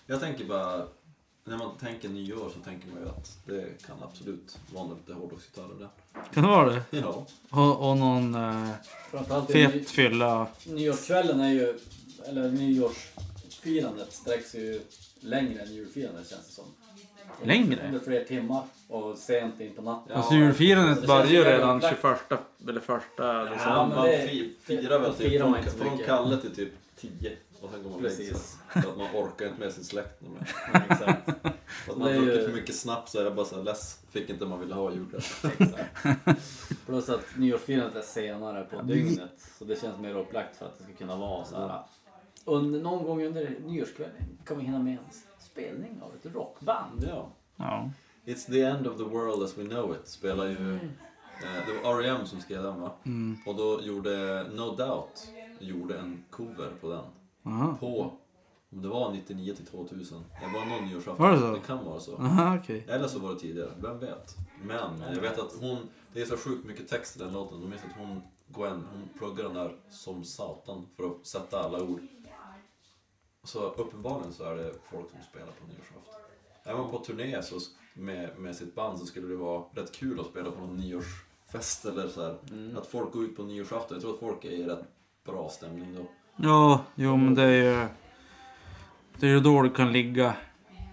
Speaker 2: Jag tänker bara... När man tänker nyår så tänker man ju att det kan absolut vara lite hårdrocksgitarrer där.
Speaker 1: Kan det vara det?
Speaker 2: Ja.
Speaker 1: Och, och någon eh,
Speaker 3: Framförallt är ny,
Speaker 1: fet fylla.
Speaker 3: nyårskvällen är ju, eller nyårsfirandet sträcks ju längre än julfirandet känns det som.
Speaker 1: Längre?
Speaker 3: Under fler timmar och sent in på natten.
Speaker 1: Alltså julfirandet
Speaker 3: Det
Speaker 1: börjar ju
Speaker 3: känns ju
Speaker 1: redan
Speaker 3: upplagt.
Speaker 1: 21 eller första
Speaker 3: Ja,
Speaker 1: december.
Speaker 2: man
Speaker 3: men
Speaker 2: man
Speaker 3: det-
Speaker 2: fi- firar väl
Speaker 3: då firar man
Speaker 2: typ
Speaker 3: inte så
Speaker 2: från, från
Speaker 3: mycket.
Speaker 2: Kalle till typ 10 och sen går man och lägger sig.
Speaker 3: Precis.
Speaker 2: För att man orkar inte med sin släkt nu mer. För att man
Speaker 3: Det är
Speaker 2: har druckit
Speaker 3: ju-
Speaker 2: för mycket snaps så är det bara såhär less, fick inte man ville ha i julklapp.
Speaker 3: Plus att nyårsfirandet är senare på dygnet. Så det känns mer upplagt för att det ska kunna vara så här. Under, någon gång under nyårskvällen kan vi hinna med en spelning av ett rockband.
Speaker 2: Ja.
Speaker 8: Ja.
Speaker 2: It's the end of the world as we know it spelar ju... Eh, det var R.E.M. som skrev den va?
Speaker 8: Mm.
Speaker 2: Och då gjorde No Doubt gjorde en cover på den.
Speaker 8: Aha.
Speaker 2: På, om det var 99 till 2000. Det var någon nyårsafton.
Speaker 8: Var det så?
Speaker 2: Det kan vara så.
Speaker 8: Aha, okej.
Speaker 2: Eller så var det tidigare, vem vet? Men jag vet att hon, det är så sjukt mycket text i den låten. Jag minns att hon, Gwen, hon pluggar den där som satan för att sätta alla ord. Så uppenbarligen så är det folk som spelar på nyårsafton. Är man på turné så sk- med, med sitt band så skulle det vara rätt kul att spela på någon nyårsfest eller så här. Att folk går ut på nyårsafton, jag tror att folk är i rätt bra stämning då.
Speaker 1: Ja, jo men det är ju... Det är ju då du kan ligga.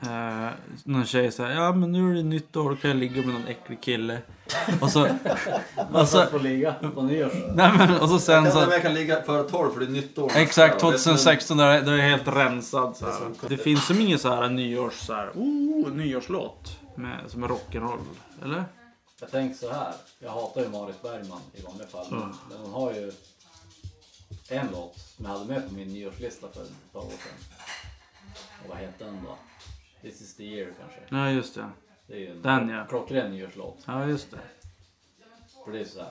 Speaker 1: Eh, någon tjej säger ja men nu är det nytt år, då kan jag ligga med någon äcklig kille. Och så... och,
Speaker 3: Så
Speaker 1: så
Speaker 3: att få ligga på nyårs.
Speaker 1: nej, men, och så sen
Speaker 2: Jag kan,
Speaker 1: så...
Speaker 2: jag kan ligga före tolv för det är nytt år.
Speaker 1: Alltså- Exakt
Speaker 2: Jag vet, men-
Speaker 1: 2016, då är jag helt rensad. Så här. Det finns som ingen så här nyårs... Så här, oh, nyårslåt. Med, som är rock'n'roll. Eller?
Speaker 3: Jag tänker så här. Jag hatar ju Marit Bergman i vanliga fall. Men hon har ju en låt som jag hade med på min nyårslista för ett par år sedan. Och vad heter den då? This is the year kanske.
Speaker 1: Ja just det.
Speaker 3: Det är ju en
Speaker 1: Den, ja.
Speaker 3: klockren nyårslåt.
Speaker 1: Ja just det.
Speaker 3: För det är så här.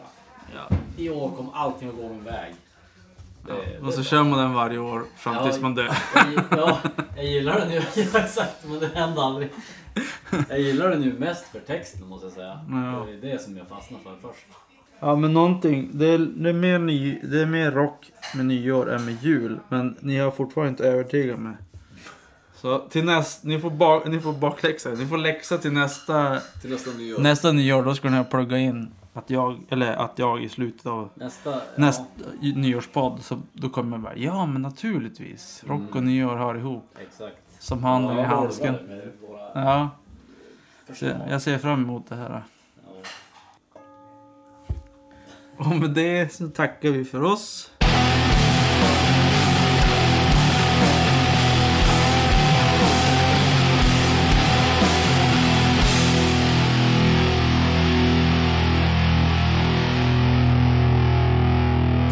Speaker 1: Ja.
Speaker 3: I år kommer allting att gå min väg. Det, det
Speaker 1: Och så
Speaker 3: är
Speaker 1: kör man den varje år fram
Speaker 3: Ja.
Speaker 1: tills man dör.
Speaker 3: Jag- Ja, jag gillar den ju. Ja, exakt, men det hände aldrig. Jag gillar den ju mest för texten måste jag säga.
Speaker 1: Ja.
Speaker 3: Det är det som jag fastnar för först.
Speaker 1: Ja men någonting. Det är, det, är mer ny, det är mer rock med nyår än med jul. Men ni har fortfarande inte övertygat mig. Så till näst, ni får, bak, ni får bakläxa. Ni får läxa till nästa,
Speaker 2: Till nästa nyår.
Speaker 1: nästa nyår. Då ska ni plugga in att jag, eller att jag i slutet av
Speaker 3: Nästa.
Speaker 1: nästa nyårspodd. Så då kommer jag bara ja men naturligtvis. Rock och nyår hör ihop.
Speaker 3: Ja, exakt.
Speaker 1: Som handen i
Speaker 3: Mm. Ja,
Speaker 1: handsken.
Speaker 3: det var det med våra
Speaker 1: Ja, så
Speaker 3: förslag.
Speaker 1: jag ser fram emot det här.
Speaker 3: Ja.
Speaker 1: Och med det så tackar vi för oss.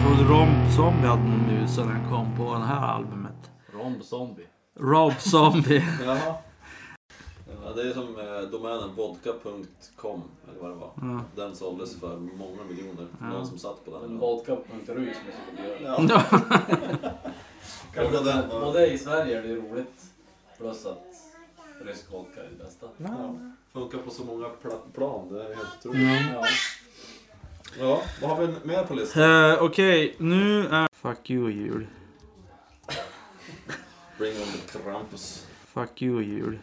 Speaker 1: Tror du Rob Zombie hade någon musa när han kom på det här albumet?
Speaker 3: Romb Zombie.
Speaker 1: Rob Zombie.
Speaker 2: Jaha. Ja, det är som eh, domänen vodka.com eller vad det var. Den såldes för många miljoner. Någon som satt på den.
Speaker 3: En vodka.ru som jag skulle göra.
Speaker 2: Ja. Kanske den eh,
Speaker 3: Både,
Speaker 2: var...
Speaker 3: både i Sverige är det ju roligt. Plus att rysk vodka är det bästa.
Speaker 2: Ja, Mm. funkar på så många pla- plan. Det är helt otroligt.
Speaker 3: Ja.
Speaker 2: Ja, vad har vi mer på listan?
Speaker 1: Eh, Okej, nu är... Fuck you jul.
Speaker 2: Bring on the Krampus.
Speaker 1: Fuck you jul.